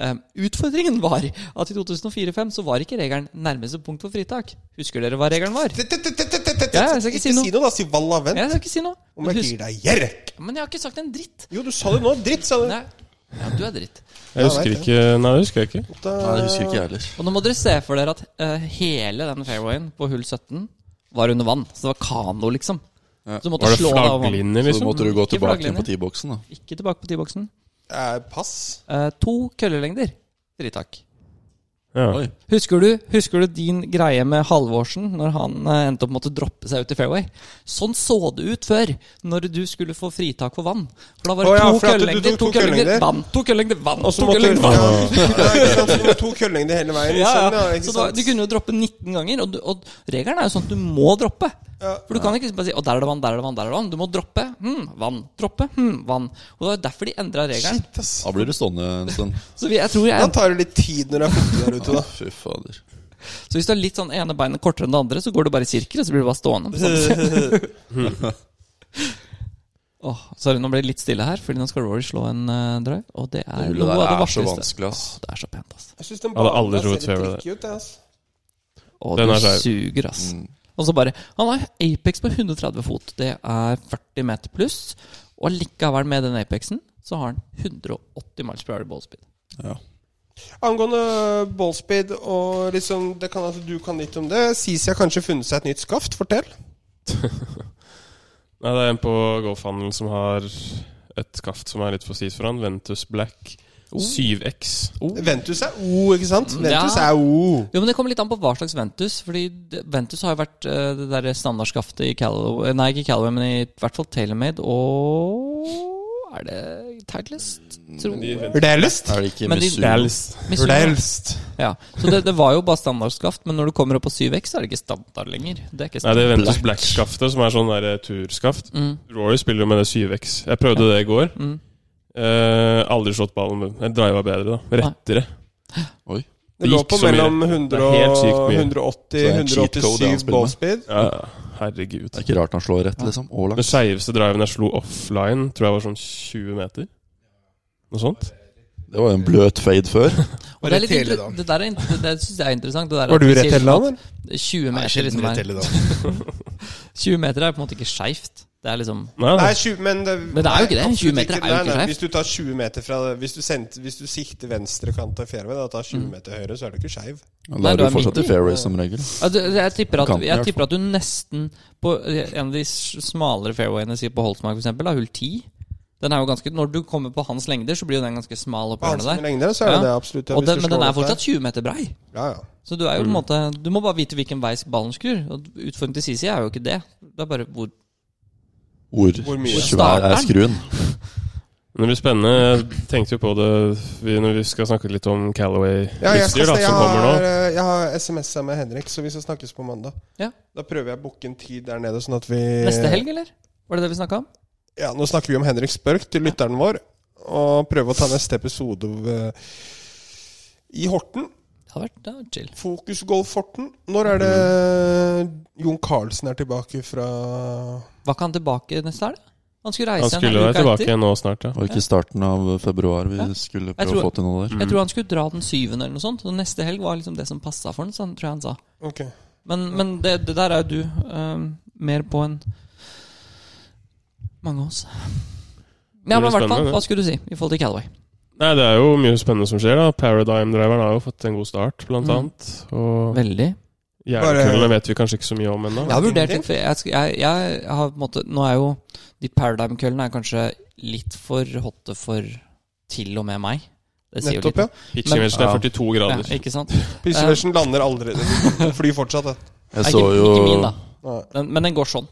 Eh, utfordringen var at i 2004-2005 så var ikke regelen nærmeste punkt for fritak. Husker dere hva regelen var? Ja, jeg skal ikke si noe. da. Si valla vent. Jeg skal ikke si noe. Om Men, jeg husk, gir deg jerk. men jeg har ikke sagt en dritt. Jo, du sa det nå. Dritt, sa du. Nei. Ja, du er dritt. Jeg Jeg husker vet ikke Nei, det husker jeg ikke. Nei, jeg husker ikke jeg heller. Og nå må dere se for dere at eh, hele den fairwayen på hull 17 var under vann. Så det var kano, liksom. Ja. Så du måtte Var det slå deg over vann. flagglinjer, Så liksom? måtte du gå Ikke tilbake inn flagglinje. på T-boksen, da. Ikke tilbake på T-boksen. Eh, pass. Eh, to køllelengder. Fritak. Ja. Oi. Husker du, husker du din greie med Halvorsen når han eh, endte opp med å droppe seg ut i fairway? Sånn så det ut før, når du skulle få fritak for vann. For da var det Å ja, to for at du køllengder, tok to to køllengder, køllengder. vann, to køllengder, vann, Og så to måtte køllengder, vann. Ja, ikke sant, så du må to køllengder hele veien. Ja, sånn, ja. ikke Så det var, sant? du kunne jo droppe 19 ganger, og, du, og regelen er jo sånn at du må droppe. Ja. For du kan ikke bare si 'Å, der er det vann, der er det vann', der er det vann. Du må droppe. Hm, vann. Droppe. Hm, vann. Og det var derfor de endra regelen. Shit, ass. Da blir du stående en stund. Så vi, jeg tror jeg Da tar det litt tid når det er fuktig der ute, da. Ja, fy fader. Så hvis du har litt sånn ene beinet kortere enn det andre, så går du bare i sirkel, og så blir du bare stående. på samme sted. Åh, sorry, nå ble det litt stille her, fordi nå skal Rory slå en eh, drive. Og det Det er hullet noe av der det er så vakreste. vanskelig, ass. Åh, det er så pent, ass. Jeg syns den Hadde banen aldri der ser trodd litt fairway tricky ut, det, ass. Og Den du er skeiv. suger, ass. Mm. Og så bare Han har Apex på 130 fot. Det er 40 meter pluss. Og likevel med den Apexen så har han 180 miles per hour i ball speed. Ja. Angående ballspeed og liksom det kan, altså, Du kan litt om det. Sisi har kanskje funnet seg et nytt skaft. Fortell. Nei, det er en på golfhandel som har et skaft som er litt for stivt for han. Ventus Black Oh. 7X. Ventus er O, ikke sant? Mm, Ventus ja. er O. Jo, men Det kommer litt an på hva slags Ventus. Fordi det- Ventus har jo vært eh, det derre standardskaftet i Callaway Nei, ikke Callaway, men i hvert fall Tailormade og Er det Titleist? Mm, Tror jeg. Vurdelest? Er det ikke Men de- Misuno? Misunder. Ja. Så det, det var jo bare standardskaft, men når du kommer opp på 7X, så er det ikke standard lenger. Det er ikke Nei, det standard. er Ventus Black-skaftet, som er sånn der eh, turskaft. Mm. Rory spiller jo med det 7X. Jeg prøvde det i går. Mm. Eh, aldri slått ballen med Jeg driva bedre, da. Rettere. Oi. Det Det lå gikk på så mye. mellom 100 og Det er helt sykt mye. 180 Så det er en cheat code 187 han spiller med. ballspeed. Ja, herregud. Det er ikke rart han slår rett, liksom. Og Den langs. skeiveste driven jeg slo offline, tror jeg var sånn 20 meter. Noe sånt. Det var jo en bløt fade Og før. det, er Rett litt, hele inter- dagen. det, der er, inter- det syns jeg er interessant. Det der at Var du vi rett sier hele sånn dagen? at 20 meter, liksom er, 20 meter er på en måte ikke skeivt. Det er liksom Nei, Nei, nei. 20, men det, Men det er jo ikke det. absolutt 20 meter er jo Nei, ikke nei, skjevt. Hvis du tar 20 meter fra Hvis du, sendt, hvis du sikter venstre kant av fairway og tar Mm. 20 meter høyre, så er du ikke skeiv. Ja, Nei, Da er du du er fortsatt i midt i. fairway som regel. Ja, du- jeg, tipper at, Kanten, i jeg hvert tipper at du nesten På en av de s- smalere fairwayene si på Holtmark, for eksempel, da, hull 10 Den er jo ganske Når du kommer på hans lengder, så blir jo den ganske smal opp På hans hjørnet der. lengde så Ja. er det det absolutt. ja, Og hvis den, du men den slår er opp der. fortsatt 20 meter brei. Ja, ja. Så du er jo på en måte Du må bare vite hvilken vei ballen skrur. Og utfordringen til Sisi er jo ikke det. Det er bare hvor Hvor, Hvor mye? svær er skruen? Men det blir spennende. Jeg tenkte jo på det vi- når vi skal snakke litt om Calaway Ja, jeg, skal, utstyr da, jeg, som kommer har, nå. eh, jeg har SMS-a med Henrik, så vi skal snakkes på mandag. Ja. Da prøver jeg å booke en tid der nede, sånn at vi Neste helg, eller? Var det det vi snakka om? Ja, nå snakker vi om Henrik Spørk til lytteren vår, og prøver å ta neste episode eh, i Horten. Det har vært det var chill. Fokus Golf Horten. Når er det Jon Carlsen er tilbake fra Var ikke han tilbake neste helg? Han skulle reise Han skulle være igjen en uke tilbake etter. igjen nå snart, ja. Var det ikke i starten av februar vi Ja. skulle Jeg prøve å tror- få til noe der? Jeg tror han skulle dra den syvende eller noe sånt. Så neste helg var liksom det som passa for han, så han tror jeg han sa. Ok. Men, men det, det der er jo du øhm, mer på enn mange av oss. Ja, men blir i hvert fall, spennende, det. hva skulle du si i forhold til Calaway? Nei, det er jo mye spennende som skjer, da. Paradigm-driveren har jo fått en god start, blant Mm. annet. Og Veldig. jernkullene vet vi kanskje ikke så mye om ennå. Jeg har vurdert Ingenting? det, for jeg, skal- jeg, jeg har på en måte Nå er jo de Paradigm-køllene er kanskje litt for hotte for til og med meg. Det sier jo Nettopp, ja. litt. Pitching wedge er Ja. 42 grader. Ja, ikke sant? Pysseversen lander aldri. Den flyr fortsatt, det. Nei, Jeg så ikke, jo, ikke min, da. Nei. Den, men den går sånn.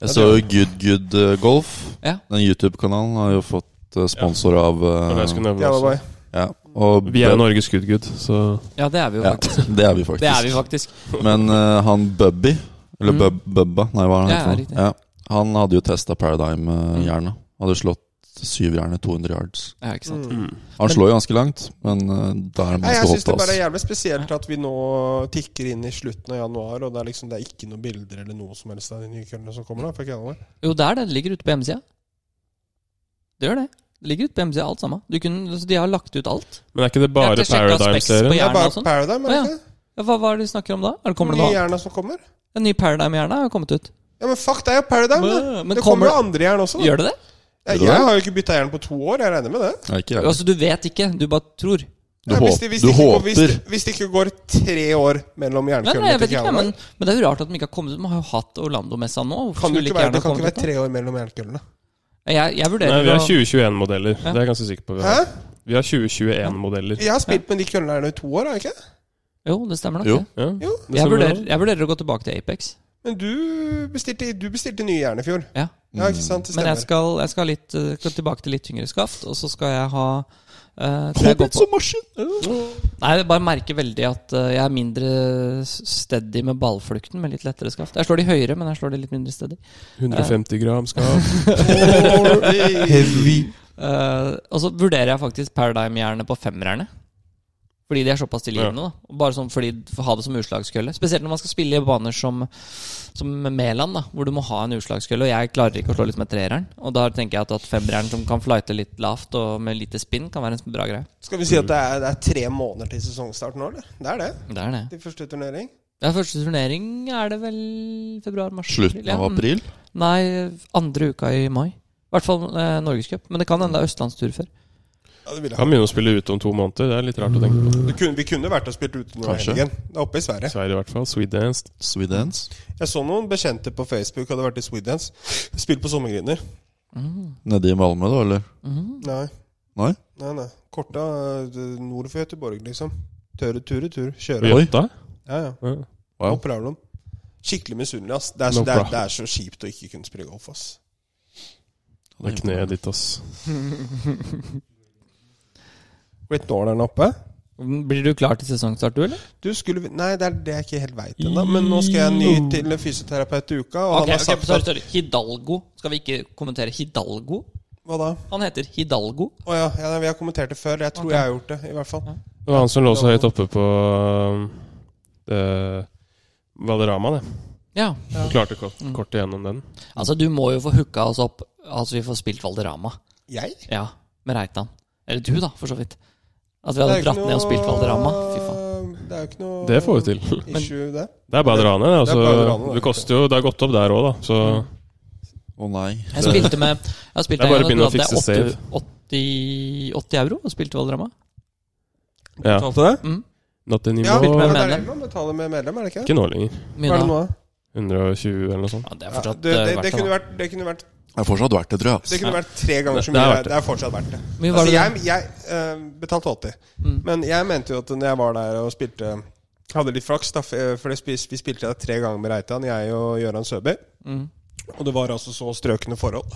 jeg så jo Good Good eh, Golf. Ja. Den YouTube-kanalen har jo fått eh, sponsor av Det var det eh, jeg skulle nevne Ja, også. bye-bye. ja, og Vi er jo Norges good good, så Ja, det er vi jo ja, faktisk. Det er vi faktisk. Det er vi faktisk. Men eh, han Bubby, eller Mm. Bub, Bubba, nei, hva Ja, er han heter riktig. for noe? ja, Han hadde jo testa Mm. Paradigm-jernet. Hadde slått syvjernet 200 yards. Ja, ikke sant. Mm. Men- Han slår jo ganske langt, men eh, der Nei, man jeg skal syns det hoppe, bare er altså. jævlig spesielt at vi nå tikker inn i slutten av januar, og det er liksom det er ikke noen bilder eller noe som helst av de nye køllene som kommer. da for ikke alle. Jo, det er det. Det ligger ute på hjemmesida. Det gjør det. Det ligger ute på hjemmesida, alt sammen. Du kunne, altså, de har lagt ut alt. Jeg Men er ikke det har bare ikke sjekket specs på Paradigm-serien? Det er jernet og bare sånn. Paradigm, er Å, ja. det ikke? Ja, hva, hva er det de snakker om da? Er det, kommer det Nye noe? jerna som kommer? Den nye Paradigm-hjerna har kommet ut. Ja, men fuck, det er jo Paradigm, det! Men, Det kommer kommer jo andre jern også. Da. Gjør det det? Ja, Jeg har jo ikke bytta jern på to år, jeg regner med det. Nei, ikke jeg. Altså, du vet ikke. Du bare tror. Du, Nei, håp, hvis det- hvis du det ikke går- håper. Hvis, hvis det ikke går tre år mellom Nei, nei, jernkøllene jeg til vet ikke, Calaway men, men det er jo rart at de ikke har kommet ut. De har jo hatt Orlando-messa nå. Hvorfor kan det, skulle ikke være, gjerne det kan kommet ikke ut være nå? tre år mellom jernkøllene. Jeg, jeg Nei, vurderer vi har å- 2021-modeller. Ja. Det er jeg ganske sikker på. Vi Hæ? har, vi har 2021-modeller. Jeg har spilt med de køllene her nå i to år, har jeg ikke? Jo, det stemmer nok. Jo. det. Ja. Jo. det Jeg stemmer vurderer, det. jeg vurderer å gå tilbake til Apex. Men du bestilte, du bestilte nye jern i fjor. Ja. Ja, ikke sant? Det Mm. Men stemmer. jeg skal, jeg skal, litt, eh, skal tilbake til litt tyngre skaft, og så skal jeg ha eh, tror jeg går Hobbit på. som maskin! Nei, jeg bare merker veldig at eh, jeg er mindre steady med ballflukten med litt lettere skaft. Jeg slår de høyere, men jeg slår de litt mindre steady. 150 gram skal Heavy. Eh, og så vurderer jeg faktisk Paradigm-jernet på femmerne. Fordi de er såpass tilgivende. da. Og Bare sånn fordi for å Ha det som utslagskølle. Spesielt når man skal spille i baner som, som Mæland, da, hvor du må ha en utslagskølle. Og jeg klarer ikke å slå litt med treeren. Og da tenker jeg at, at femmeren som kan flighte litt lavt og med lite spinn, kan være en bra greie. Skal vi si at det er, det er tre måneder til sesongstart nå, eller? Det er det. Det er det. Til første turnering. Ja, første turnering er det vel februar-mars? Slutten av april. Mm. Nei, andre uka i mai. I hvert fall eh, Norgescup. Men det kan hende det er østlandstur før. Ja, det ville jeg. Kan begynne å spille ute om to måneder. Det er litt rart å tenke på. Det kunne, vi kunne vært og spilt ute nå i Kanskje. helgen. Det er Oppe i Sverige. Sverige, i hvert fall. Swedenst. Swedens. Jeg så noen bekjente på Facebook hadde vært i Swedens. Spilt på sommergriner. Nede i Malmö, da, eller? Nei, Nei? nei, nei. Korta eh, nord for Göteborg, liksom. Tøre, ture, tur. Kjøre. Oi. Jøtta? Ja, ja. Ja. Wow. No problem. Skikkelig misunnelig, ass. Det er, så, No det, er, problem. det er så kjipt å ikke kunne spille golf, ass. Det er kneet ditt, ass. Blitt nål der oppe? Blir du klar til sesongstart, du, eller? Du skulle vi- Nei, det er det jeg ikke helt veit ennå. Men nå skal jeg ny til fysioterapeut i uka, og Mm. Ok, han ok, har sagt sorry, sorry. Hidalgo. Skal vi ikke kommentere Hidalgo? at Hva da? Han heter Hidalgo. Å ja, ja, vi har kommentert det før. Jeg tror jeg har gjort det, i hvert fall. Det var han som lå så høyt oppe på uh, Valderama, det. Ja. Du klarte kort, kort igjennom den. Altså, du må jo få hooka oss opp. Altså, vi får spilt Valderama. Jeg? Ja, med Reitan. Eller du, da, for så vidt. At vi Det er hadde jo ikke dratt ned og spilt Valderama. Fy faen. Det er jo ikke noe Det får vi til. issue, det. Det er bare å dra ned. det, Det er bare å dra ned, Altså, det. det koster jo Det har gått opp der òg, da. Så Å nei. Jeg spilte med Jeg har spilt Det er bare en gang, å begynne å og da hadde fikse jeg save. 80, 80 euro og spilte Valderama. ja. Betalte det? Not Ja, anymore. men med det er medlem. regler om å betale med medlem, er det ikke? Ikke nå lenger. Mye Hva er det da. nå, da? 120 eller noe sånt. Ja, det er Ja, fortsatt eh, det, det, det, verdt det. kunne da. vært, det, kunne vært, Det er fortsatt verdt det, tror det jeg. ass. kunne vært tre ganger så Det- mye. det er Det verdt er, det. fortsatt verdt det. Mye var Altså, det Mm. jeg jeg eh, betalte 80, men jeg mente jo at når jeg var der og spilte Mm. Hadde litt flaks, da, for for det spis- vi spilte der tre ganger med Reitan, jeg og Gøran Søby. Og det var altså så strøkne forhold.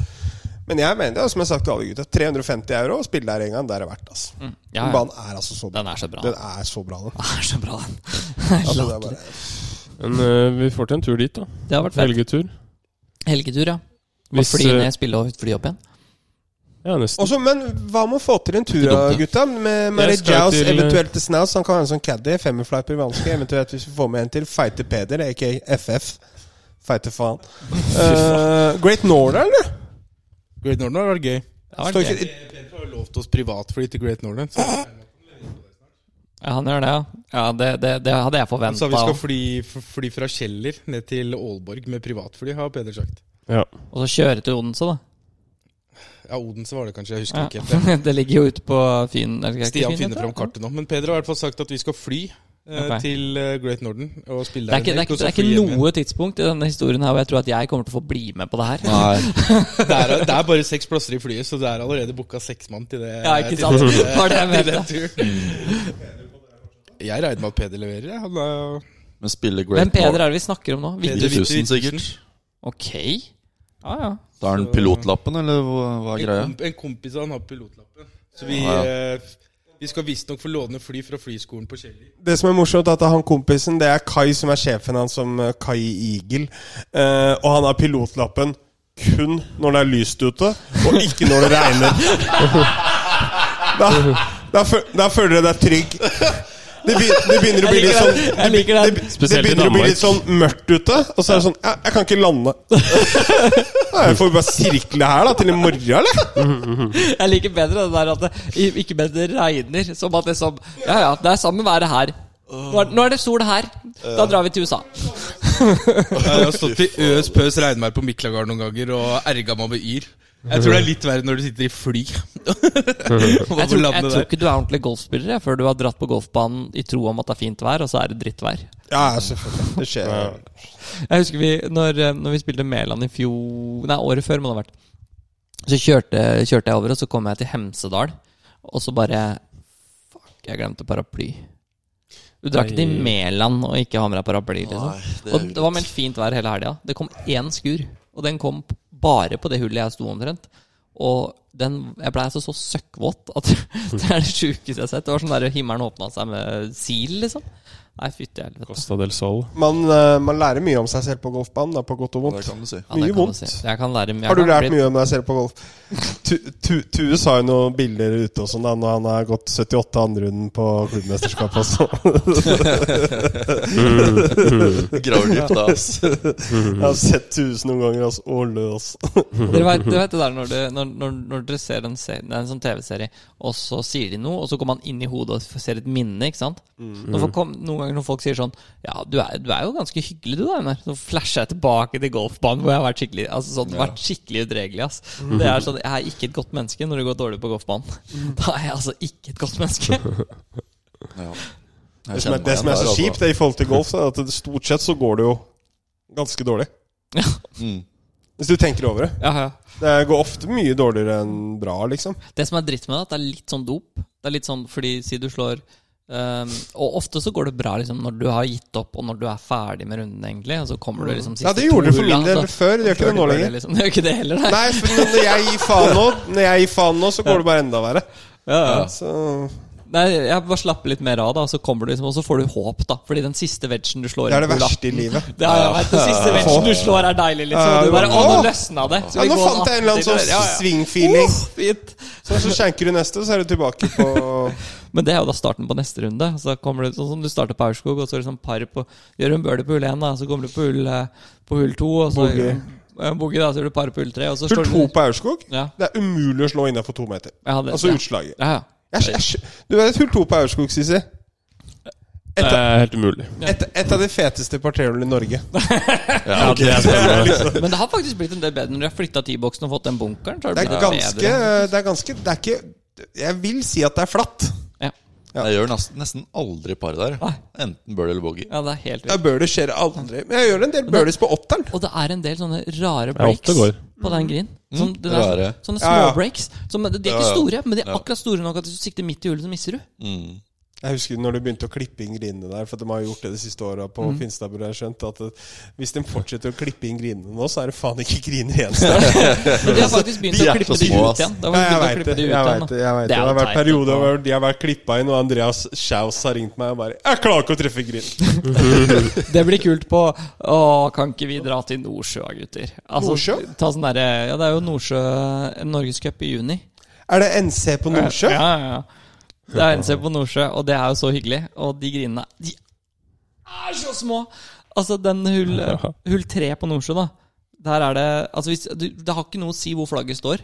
Men jeg mener det, som jeg har sagt til alle gutta, 350 euro å spille der en gang, det er det verdt. Altså. Ja, ja. Banen er altså så bra. Den er så bra. Den er så bra, den. Den er så bra, den. Altså, det er bare, Men eh, vi får til en tur dit, da. Det har vært fett. Helgetur. Helgetur, ja. Bare Hvis, fly eh, ned, spille og fly opp igjen. ja, nesten. Også, men hva med å få til en tur, Ikke dumt, det. gutta? Med Mary Jeg Jows, skal til- eventuelt til Snaus. Han kan være en sånn caddy. Femmerfleiper vanskelig. Eventuelt hvis vi får med en til. Feite Peder, aka FF. Feite faen. Eh, Great Northern, eller? Great Northern har vært gøy. Ja, Står det- ikke- Dere har jo lovt oss privatfly til Great Northern. Så ja, han gjør det, ja. ja det, det, det hadde jeg han sa vi forventa. skal fly, f- fly fra Kjeller ned til Aalborg med privatfly, har Peder sagt. Ja. Og så kjøre til Odense, da. Ja, Odense var det kanskje. Jeg Ja. husker ikke helt det. det ligger jo ute på Fyn. eller ikke Stian Fyn, finner heter fram det? kartet nå. Men Peder har i hvert fall sagt at vi skal fly eh, Ok. til eh, Great Northern og spille Det er der. ikke, det er, en helg, ikke- og det så er fly hjem ikke igjen. noe tidspunkt i denne historien her hvor jeg tror at jeg kommer til å få bli med på det her. Nei. Det er, det er bare seks plasser i flyet, så det er allerede booka seks mann til det. Ja, ikke til sant? den- Det var det jeg til mente. den turen. Jeg regner med at Peder leverer. jeg. Han er Men spiller Great Hvem Peder North er det vi snakker om nå? Vi- Peder 9000, Witte sikkert. Ok. Ja, ja. Da er den pilotlappen, eller hva, hva er en, greia? komp en kompis av han har pilotlappen. Så vi, Ja, eh, vi skal visstnok få låne fly fra flyskolen på Kjeller. Det som er morsomt, er at han kompisen, det er Kai som er sjefen hans som eh, Kai Igel. Eh, og han har pilotlappen kun når det er lyst ute, og ikke når det regner. Da, da, fø- da føler du deg trygg. Det, be, det begynner å bli Jeg liker litt sånn den. Jeg liker den. det, be- det Spesielt i begynner å bli Danmark. litt sånn mørkt ute, og så er det sånn Jeg, jeg kan ikke lande. Da får vi bare sirkle her da, til i morgen, eller? Jeg liker bedre det der at det i- ikke bedre regner. Som at det som Ja ja, det er samme været her. Nå er, nå er det sol her. Da drar vi til USA. Jeg har stått i øs pøs regnvær på Miklagard noen ganger og erga meg med yr. Jeg tror det er litt verre når du sitter i fly. Jeg tror, jeg tror ikke du er ordentlig golfspiller jeg, før du har dratt på golfbanen i tro om at det er fint vær, og så er det drittvær. Ja, selvfølgelig. Det skjer. Jeg husker vi, når, eh, når vi spilte Mæland i fjor Nei, året før må det ha vært. Så kjørte, kjørte jeg over, og så kom jeg til Hemsedal. Og så bare Fuck, jeg glemte paraply. Du drar ikke til Nei. Mæland og ikke har med deg paraply. liksom det Og det var meldt fint vær hele helga. Det kom én skur, og den kom p- bare på det hullet jeg sto omtrent. Og den, jeg blei altså så søkkvåt at det er det sjukeste jeg har sett. Det var sånn der himmelen åpna seg med sil, liksom. Nei, fytti helvete. Costa del Sol. Man, eh, man lærer mye om seg selv på golfbanen, da, på godt og Ja, vondt. Det kan du si. Ja, det Mye kan man vondt. si. Jeg kan lære, jeg Har du kan lært bli- mye om deg selv på golf? Tu- Tu- Tue sa jo noen bilder ute og sånn da når han har gått 78 andrerunden på klubbmesterskapet også. Gravdypt, da. ass. Jeg har sett Tue noen ganger altså, og løs. Dere vet, dere vet det der når, du, når, når, når dere ser en, se- det er en sånn TV-serie, og så sier de noe, og så kommer man inn i hodet og ser et minne, ikke sant? Når folk, kom- noen ganger når folk sier sånn Ja, du er, du er jo ganske hyggelig, du da, Einar. Så flasher jeg tilbake til golfbanen hvor jeg har vært skikkelig Altså sånn, vært skikkelig udregelig, ass. Det er sånn, jeg er ikke et godt menneske når det går dårlig på golfbanen. Da er jeg altså ikke et godt menneske. Ja. Det som er, det som er så kjipt det er i forhold til golf, er at det, stort sett så går det jo ganske dårlig. Mm. Hvis du tenker over det. Ja, ja. Det går ofte mye dårligere enn bra, liksom. Det som er dritt med det, er at det er litt sånn dop. Det er litt sånn fordi si du slår ehm, Og ofte så går det bra liksom når du har gitt opp, og når du er ferdig med runden, egentlig. Og så kommer du liksom siste Ja, det gjorde det for hulla, min del så- før. Det gjør ikke det nå Før lenger. liksom. Det gjør ikke det heller, nei. Nei, for når jeg gir faen nå, når jeg gir faen nå, så går det bare enda verre. Ja, ja. Så nei. Jeg bare slapper litt mer av, da, og så kommer du liksom Og så får du håp, da. Fordi den siste vegen du slår det er det inn på latten- verste i livet. Ja, ja, vet, du, Den siste vegen du slår, er deilig, liksom. Ja, Og du bare ja. Å, nå løsna det! Skal Ja, vi nå gå fant jeg en eller annen 80 sånn der? Ja, Oh! ja. sving-feeling. Åh, fint. Så, så skjenker du neste, så er du tilbake på Men det er jo da starten på neste runde. Så kommer det sånn som Du starter på Aurskog, og så er det sånn par på Gjør en bøle på hull én, da, så kommer du på hull, eh, på hull to, og så Boogie. Ja, Boogie, da, så gjør du par på hull tre, og så Hull står to du på Aurskog. Ja. Det er umulig å slå innafor to meter. Ja, det- altså ja. utslaget. Ja, ja. Jeg, jeg, jeg, du vet hull to på Aurskog, Sisi? Det er helt umulig. Et, et av de feteste parterhjulene i Norge. Ja, det er spennende. Men det har faktisk blitt en del bedre når de har flytta T-boksen og fått den bunkeren. Så har det Det er blitt ganske bedre. Det er ganske Det er ikke Jeg vil si at det er flatt. Ja. altså. Jeg gjør nesten, nesten aldri par der. Nei. Enten bird eller bogey. ja, det er helt Ja, vilt. Bøler skjer aldri. Men jeg gjør en del bøles på åtteren. Og det er en del sånne rare Ja, åtte breaks går. på den green. Som, det er, rare. sånne- sånne Mm. Ja, ja. små breaks. Som, de er Ja, ikke ja. store, men de er Ja. akkurat store nok at hvis du sikter midt i hullet, så misser du. Mm. Jeg husker når du begynte å klippe inn grinene der, for de har jo gjort det de siste åra på Mhm. Finstad, burde jeg skjønt, at eh, hvis de fortsetter å klippe inn grinene nå, så er det faen ikke griner igjen. snart. Men de har faktisk begynt de å er klippe så de små, ut ass. igjen. Da Jeg var de begynt å vet klippe det. de ut igjen, jeg vet da. det, jeg vet er det. Det har jo vært teit, perioder da. hvor de har vært klippa inn, og Andreas Schaus har ringt meg og bare 'Jeg klarer ikke å treffe grinen'. Det blir kult på Å, kan ikke vi dra til Nordsjøa, gutter? Altså, Nordsjø? Ta sånn derre Ja, det er jo Nordsjø Norgescup i juni. Er det NC på Nordsjø? Ja, ja, ja. Det er NC på Nordsjø, og det er jo så hyggelig. Og de grinene De er så små! Altså, den hull, hull tre på Nordsjø, da. Der er det Altså, hvis, du, det har ikke noe å si hvor flagget står.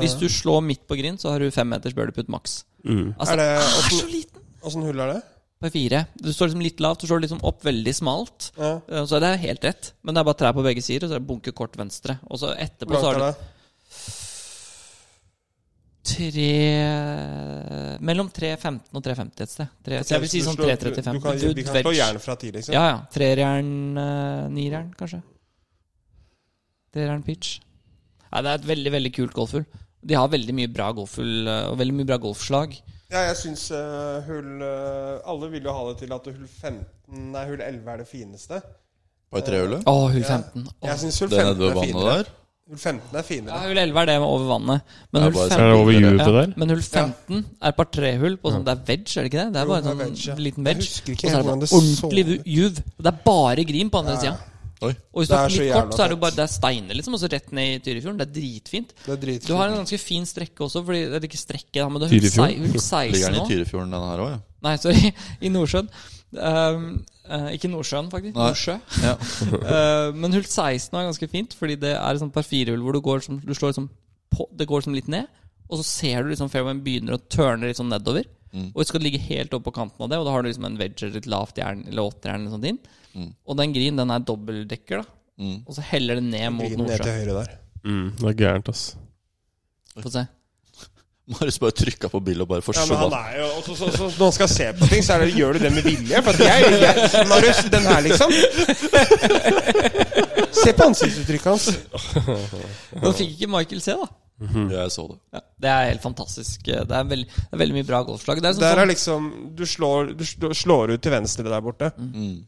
Hvis du slår midt på grind, så har du fem meters birdieputt maks. Altså, Er er det åssen- så liten! Åssen hull er det? På fire. Du står liksom litt lavt, du står liksom opp veldig smalt. Ja. Eh, Så det er helt rett. Men det er bare trær på begge sider, og så er det bunke kort venstre. Og så etterpå Hvor så langt har er du det? tre Mellom 3.15 og 3.50 et sted. Tre, så jeg vil si Du sånn slår- du 3.35. kan- Du Vi kan slå velger- jern fra ti, liksom. Ja, ja. Trerjern, eh, nirjern, kanskje. Trerjern pitch. Nei, det er et veldig, veldig kult golfhull. De har veldig mye bra golfhull eh, og veldig mye bra golfslag. Ja, jeg syns eh, hull eh, Alle vil jo ha det til at hull 15 Nei, hull 11 er det fineste. Par trehullet? Å, hull Ja. 15. Å. Jeg syns hull Det 15 nede ved er vannet finere. der? Hull 15 er Ja, finere. hull 11 er det med over vannet. Men Ja, hull bare 15 Er det over Ja, jupet der? Men hull 15 er et par trehull på sånn Det er wedge, er det ikke det? Det er Jo, bare det er sånn wedge, ja. liten Jeg wedge. husker Og ikke så er det helt hvordan bare det så ordentlig ut. vu- juv. Det er bare grin på andre sida. Oi. Og hvis du Det har er så litt jævla kort, så er det jo fett. bare Det er steiner, liksom, og så rett ned i Tyrifjorden. Det er dritfint. Det er dritfint. Du har en ganske fin strekke også, fordi det er ikke strekke, da, men det er hull Tyrifjorden? sei- hull 16 Ligger den i nå. Tyrifjorden, den her òg? Ja. Nei, sorry. I Nordsjøen. Um, eh, ikke Nordsjøen, faktisk. Nei. Nordsjø. Ja. Eh, men hull 16 er ganske fint, fordi det er et sånt par firehull hvor du går som, du slår liksom på, det går som litt ned, og så ser du liksom fairwayen begynner å turne litt sånn nedover. Og så skal du ligge helt oppe på kanten av det, og da har du liksom en wedger, et lavt jern eller åtterjern eller sånt inn. Og den green, den er dobbeltdekker, da. Mm. Og så heller det ned mot Grinen ned til Nordsjø. høyre der. Mm, det er gærent, ass. Få se. Marius bare trykka på bill og bare Ja, men han forsvant. er jo også, så, så, Når han skal se på ting, så er det, gjør du det med vilje. For at jeg, jeg Marius, den her, liksom. Se på ansiktsuttrykket hans. Nå fikk ikke Michael se, da. Jeg så det. Ja, det er helt fantastisk. Det er veldig, det er veldig mye bra golfslag. Det er sånn, Der er liksom Du slår, du sl- slår ut til venstre der borte. Mm.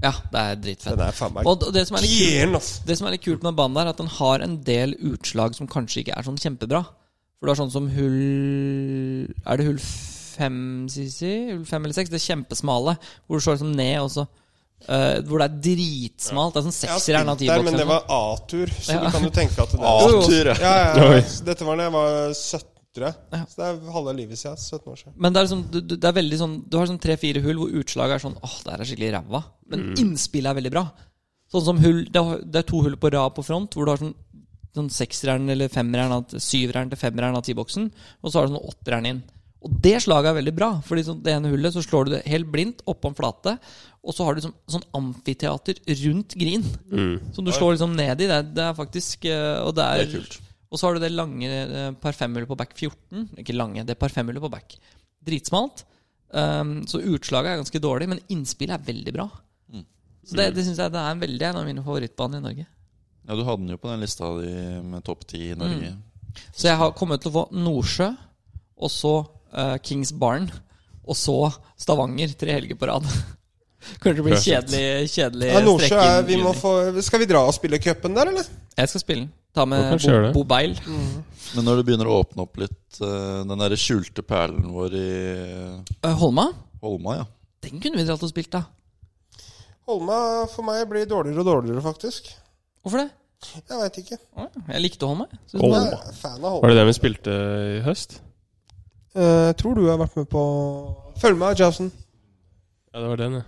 Ja, det er Den dritfett. er faen meg Og det som er litt kult Gien, ass. Det som er litt kult med banen der, er at den har en del utslag som kanskje ikke er sånn kjempebra. For du har sånn som hull Er det hull fem, Sisi? Hull fem eller seks? Det er kjempesmale. Hvor du slår liksom ned, og så eh, Hvor det er dritsmalt. Det er sånn Jeg har sekser eller spilt der, men det tiboks. var A-tur, så Ja. du kan jo tenke at det jo. Atur, ja. Ja, ja, ja. Oi. Dette var da jeg var 17, tror jeg. Ja. Så det er halve livet siden. 17 år siden. Men det er, liksom, du, du, det er veldig sånn Du har sånn tre-fire hull hvor utslaget er sånn Åh, det her er skikkelig ræva. Men innspillet er veldig bra. Sånn som hull Det er, det er to hull på rad på front hvor du har sånn Sånn sekserjern eller femmerjern av- syverjern til femmerjern av T-boksen. Og så har du sånn åtterjern inn. Og det slaget er veldig bra. Fordi sånn, det ene hullet så slår du det helt blindt oppå en flate. Og så har du sånn, sånn amfiteater rundt green. Mm. Som du slår liksom ned i. Det, er- det er faktisk eh, Og det er, Det er kult. og så har du det lange eh, par femhullet på back 14. Ikke lange, det er par femhullet på back. Dritsmalt. Um, så utslaget er ganske dårlig, men innspillet er veldig bra. Mm. Så det, det synes jeg det er en veldig en av mine favorittbaner i Norge. ja, du hadde den jo på den lista di med topp ti i Norge. Så jeg har kommet til å få Nordsjø, og så eh, Kings Barn, og så Stavanger tre helger på rad. Kanskje det blir Perfekt. kjedelig, kjedelig Ja, Nordsjø strekk er, inn i vi må juni. få, Skal vi dra og spille cupen der, eller? Jeg skal spille den. Ta Ja, med kanskje Bo, gjør det. Bo Beil. Men når du begynner å åpne opp litt eh, den derre skjulte perlen vår i Eh, Holma, Holma, ja. den kunne vi dratt og spilt, da. Holma for meg blir dårligere og dårligere, faktisk. Hvorfor det? Jeg veit ikke. Å, Jeg likte Holma. jeg. Synes Holma. Jeg er fan av Var Holma. det den vi spilte i høst? Eh, tror du har vært med på Følg med, Jowson. Ja, det var den, ja.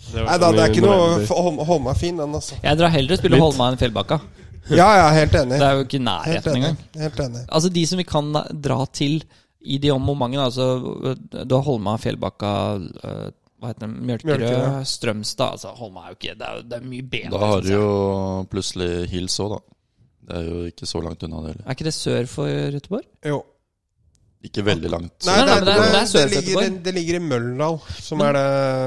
Det var Nei da, sånn det i er ikke noe november. Hol- Holma er fin, den, altså. Jeg drar heller og spiller Litt. Holma enn Fjellbakka. Ja, ja, helt enig. Det er jo ikke i Helt nærheten enig. engang. Helt enig. Altså De som vi kan dra til i de ommomentene altså, Du har Holma, Fjellbakka øh, Hva heter det? Mjølkerød, Mjølkerød. Strømstad altså, Holma er jo ikke Det er, jo- det er mye bedre. Da har synes du jeg. jo plutselig Hills òg, da. Det er jo ikke så langt unna det heller. Er ikke det sør for Göteborg? Jo. Ikke veldig langt. Nei, Nei, det, nei, men det Sånn er- det, det er det, Sør-Setterborg. ligger, det, det ligger i Møllendal, som er det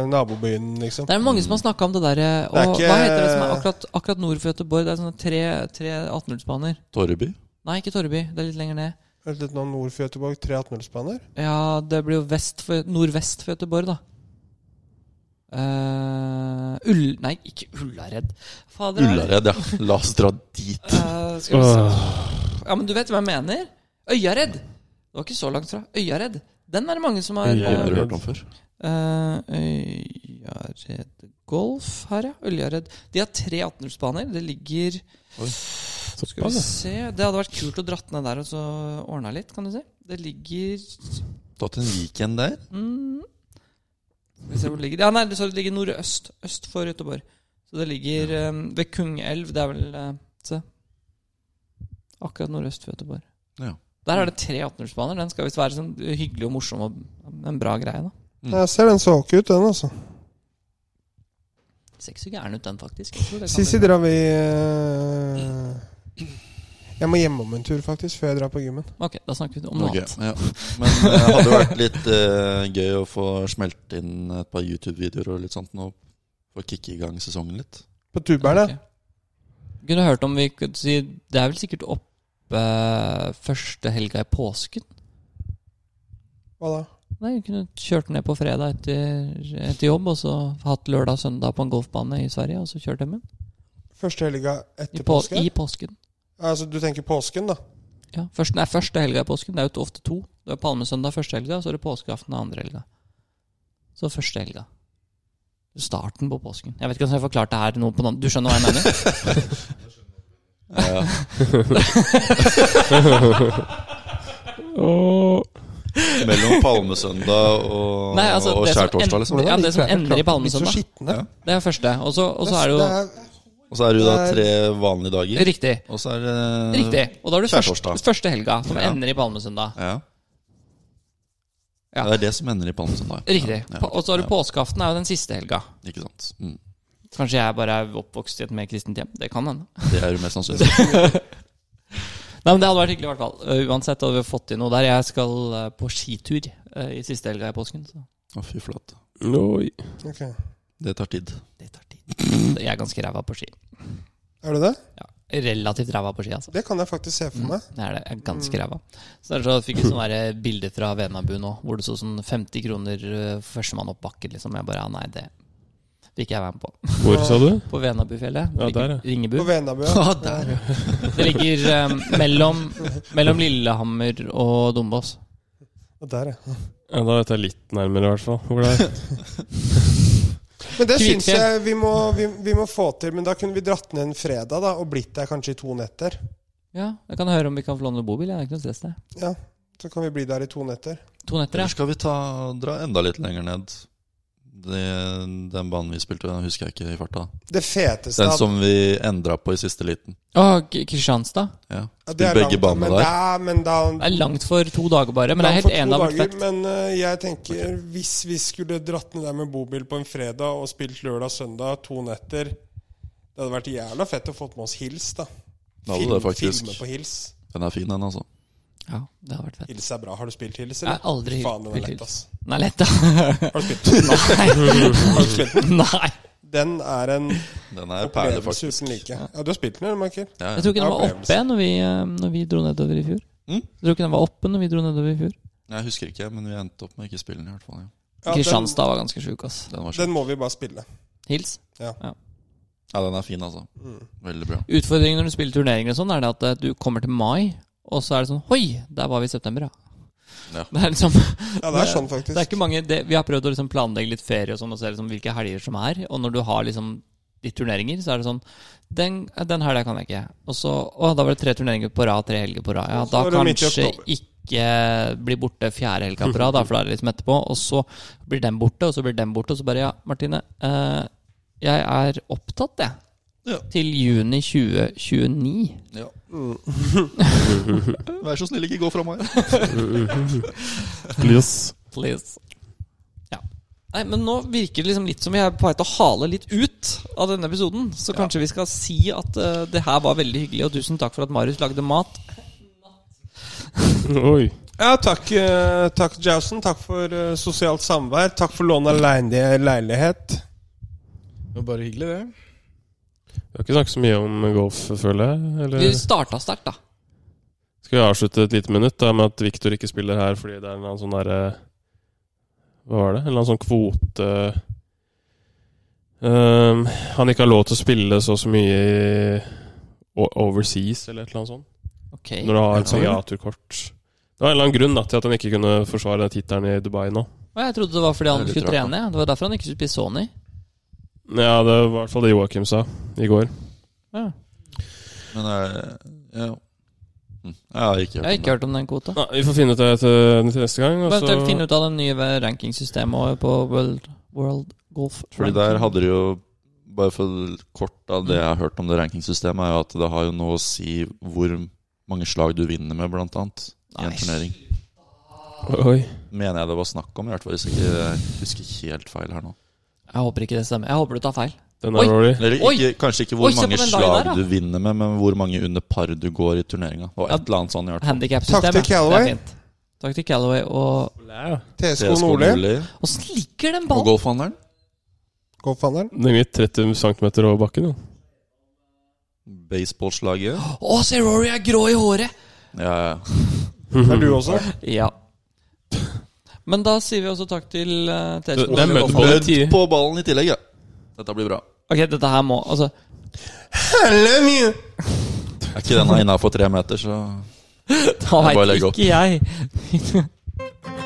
nabobyen, liksom. Det er mange som har snakka om det derre Det er ikke- Hva heter det som er akkurat, akkurat nord for Göteborg? Det er sånne tre, tre 18-hullsbaner. Torreby. Nei, ikke Torreby. Det er litt lenger ned. Er det litt nå nord for Göteborg? Tre 18-hullsbaner? Ja, det blir jo vest for, nordvest for Göteborg, da. Eh, Ull... Nei, ikke Ullared. Fader, er det- Ullared, ja. La oss dra dit. Eh, skal vi se. Ja, men du vet hva jeg mener? Øyared. Det var ikke så langt fra. Øyared. Den er det mange som har Øyared. Aldri hørt om før. Eh, Øyared Golf her, ja. Øljared. De har tre 18-hullsbaner. Det ligger Skal vi Såpass, ja. se Det hadde vært kult å dratt ned der og så ordna litt, kan du si. Det ligger Skal Tatt en weekend der. Mm. vi se hvor det ligger Ja, nei, du sa det ligger nordøst. Øst for Göteborg. Så det ligger eh, ved Kungelv. Det er vel eh, Se. Akkurat nordøst for Göteborg. Ja. Der er det tre 18-hullsbaner. Den skal visst være sånn hyggelig og morsom og en bra greie, da. Mm. Jeg ser den så ikke ut, den, altså. Ser ikke så gæren ut, den, faktisk. Jeg tror det kan Sist i bli- drar vi eh, Jeg må hjemme om en tur, faktisk, før jeg drar på gymmen. Ok, da snakker vi om noe Ok, annet. ja. Men det hadde vært litt eh, gøy å få smelt inn et par YouTube-videoer og litt sånt nå. For å kicke i gang sesongen litt. På tuberne. Ok. Kunne hørt om vi kunne si Det er vel sikkert oppe eh, første helga i påsken? Hva da? Nei, vi kunne kjørt ned på fredag etter, etter jobb, og så hatt lørdag og søndag på en golfbane i Sverige, og så kjørt hjem igjen. Første helga I, etter på, påske? I påsken. Altså, du tenker påsken, da? Ja, først, nei, første helga i påsken. Det er jo ofte to. Det er palmesøndag første helga, og så er det påskeaften den andre helga. Så første helga. Starten på påsken. Jeg vet ikke om jeg har forklart det her noe på noen Du skjønner hva jeg mener? Ja. Og Mellom palmesøndag og, Nei, altså, og det som skjærtorsdag, liksom. ender- Ja, det som ender i palmesøndag. Litt så skitne. Det er første. Og så og så er det jo Og så er det jo da tre vanlige dager. Riktig. Og så er det Riktig. Og da har du Skjærtorsdag. først, første helga, som Ja. ender i palmesøndag. Ja. Ja. Det er det som ender i palmesøndag. Riktig. Ja, ja, På- Og så har du ja, påskeaften, er jo den siste helga. Ikke sant. Mm. Kanskje jeg bare er oppvokst i et mer kristent hjem. Det kan hende. Det er jo mest sannsynlig. Nei, men Det hadde vært hyggelig, i hvert fall. Uh, uansett hadde vi fått til noe der. Jeg skal uh, på skitur uh, i siste helga i påsken. Så Å, fy flate. Oi. Ok. Det tar tid. det tar tid. Jeg er ganske ræva på ski. Er du det? Ja, Relativt ræva på ski, altså. Det kan jeg faktisk se for meg. Mm. Det er det. Jeg er ganske ræva. Så derfor fikk jeg sånne der bilder fra Venabu nå, hvor det så sånn 50 kroner uh, for førstemann opp bakken. liksom. Jeg bare ja, nei, det vil ikke jeg være med på. Hvor, sa du? På Venabufjellet. Ja, der, ja. Ringebu. På Venabu. Ja, ja. der, Det ligger eh, mellom, mellom Lillehammer og Dombås. Og der, ja. Ja, da vet jeg litt nærmere, i hvert fall. Hvor det er. Men det Kvitfjell. syns jeg vi må, vi, vi må få til. Men da kunne vi dratt ned en fredag da, og blitt der kanskje i to netter. Ja, Jeg kan høre om vi kan få låne bobil. Jeg er ikke noe stress det. Ja, Så kan vi bli der i to netter. To netter, Eller ja. skal vi ta, dra enda litt lenger ned? Det, den banen vi spilte, den husker jeg ikke i farta. Det feteste Den hadde- som vi endra på i siste liten. Å, K- Kristianstad. Ja. Ja, Spilte begge banene men der. da- men da, Det er langt for to dager bare, men jeg er helt enig. Det hadde vært fett. Men eh, jeg tenker, hvis vi skulle dratt ned der med bobil på en fredag og spilt lørdag-søndag to netter Det hadde vært jævla fett å fått med oss hils, da. Det hadde det faktisk. Filme på hils. Den er fin, den, altså. Ja, det hadde vært fett. Hils er bra. Har du spilt hils, Jeg eller? har aldri Faen, den er spilt lett, ass. Den er lett, da. Har du spilt den? Nei. Nei. Den er en Den er perle, opplevelse faktisk. uten like. Ja, du har spilt den, eller, Michael? Ja, Jeg ja. tror ikke den var oppe når vi, eh, når vi dro nedover i fjor. Mm? Jeg tror ikke den var oppe når vi dro nedover i fjor. Jeg husker ikke, men vi endte opp med ikke å spille den. i hvert fall ja. Ja, Kristianstad var ganske sjuk, ass. den, var Den, kjip. den må vi bare spille. Hils. ja, den er fin, altså. Veldig bra. Utfordringen når du spiller turneringer og sånn, er det at eh, du kommer til mai, og så er det sånn Hoi, der var vi i september, ja. Ja. Det er liksom Ja, det er sånn, faktisk. Det er ikke mange det, Vi har prøvd å liksom planlegge litt ferie og sånn, og se liksom hvilke helger som er. Og når du har liksom ditt turneringer, så er det sånn Den, den helga kan jeg ikke. Og så Å, da var det tre turneringer på rad, tre helger på rad. Ja, Og så da var det midt i kanskje oktober. ikke bli borte fjerde helga på rad, da, for da er det liksom etterpå. Og så blir den borte, og så blir den borte, og så bare Ja, Martine. Eh, jeg er opptatt, jeg. Ja. Til juni 2029. Ja. Vær så snill, ikke gå fra meg. Please. Please. Ja. Nei, men nå virker det liksom litt som vi er på vei til å hale litt ut av denne episoden. Så kanskje vi skal si at eh, det her var veldig hyggelig, og tusen takk for at Marius lagde mat. Oi. Ja, takk, eh, takk Jausen. Takk for eh, sosialt samvær. Takk for lån av leili- leilighet. Det var bare hyggelig, det. Vi har ikke snakket så mye om golf, føler jeg. Vi Eh. Eller starta sterkt, da. skal Skal vi avslutte et lite minutt da, med at Viktor ikke spiller her fordi det er en eller annen sånn derre Hva var det? En eller annen sånn kvote Ehm, Han ikke har lov til å spille så og så mye i o- overseas eller et eller annet sånt. Ok. Når du har et Ja, sånt A-turkort. Det var en eller annen grunn da, til at han ikke kunne forsvare den tittelen i Dubai nå. Å, Jeg trodde det var fordi han Det er litt skulle rart, trene. ja. Det var derfor han ikke skulle spille Sony. Ja, det var i hvert fall det Joakim sa i går. Ja. Men jeg, ja. Mm. jeg har Jeg ikke hørt har om ikke hørt om den kvota. Nei, vi får finne ut det eh, til, til neste gang. altså- og Eventuelt så- finne ut av det nye rankingsystemet på World, World Golf. Fordi der hadde det jo Bare for kort av det jeg har hørt om det rankingsystemet, er jo at det har jo noe å si hvor mange slag du vinner med, blant annet. I en Nei. turnering. Oi. Mener jeg det var snakk om, i hvert fall hvis jeg ikke jeg husker helt feil her nå. Jeg håper ikke det stemmer. Jeg håper du tar feil. Den Oi. er rolig. Eller Oi! ikke, kanskje ikke hvor Oi, se på mange den lagen slag der, da. du vinner med, men hvor mange under par du går i turneringa. Og Ja. et eller annet sånn i hvert fall. Handikapsystemet. Takk til Callaway. Takk til Callaway. Og TSK TSK Nordli. Nordli åssen ligger den og ballen? golfhandleren. Golfhandleren. Den gikk 30 cm over bakken, jo. Baseballslaget. Å, se Rory er grå i håret! Ja, ja. Er du også? Ja. Men da sier vi også takk til uh, Det- det er T-sport. møtt- Og Mødd Mødd på ballen i tillegg, ja. Dette blir bra. Ok, dette her må Altså, Er ikke denne innafor tre meter, så da bare veit legger opp. ikke jeg.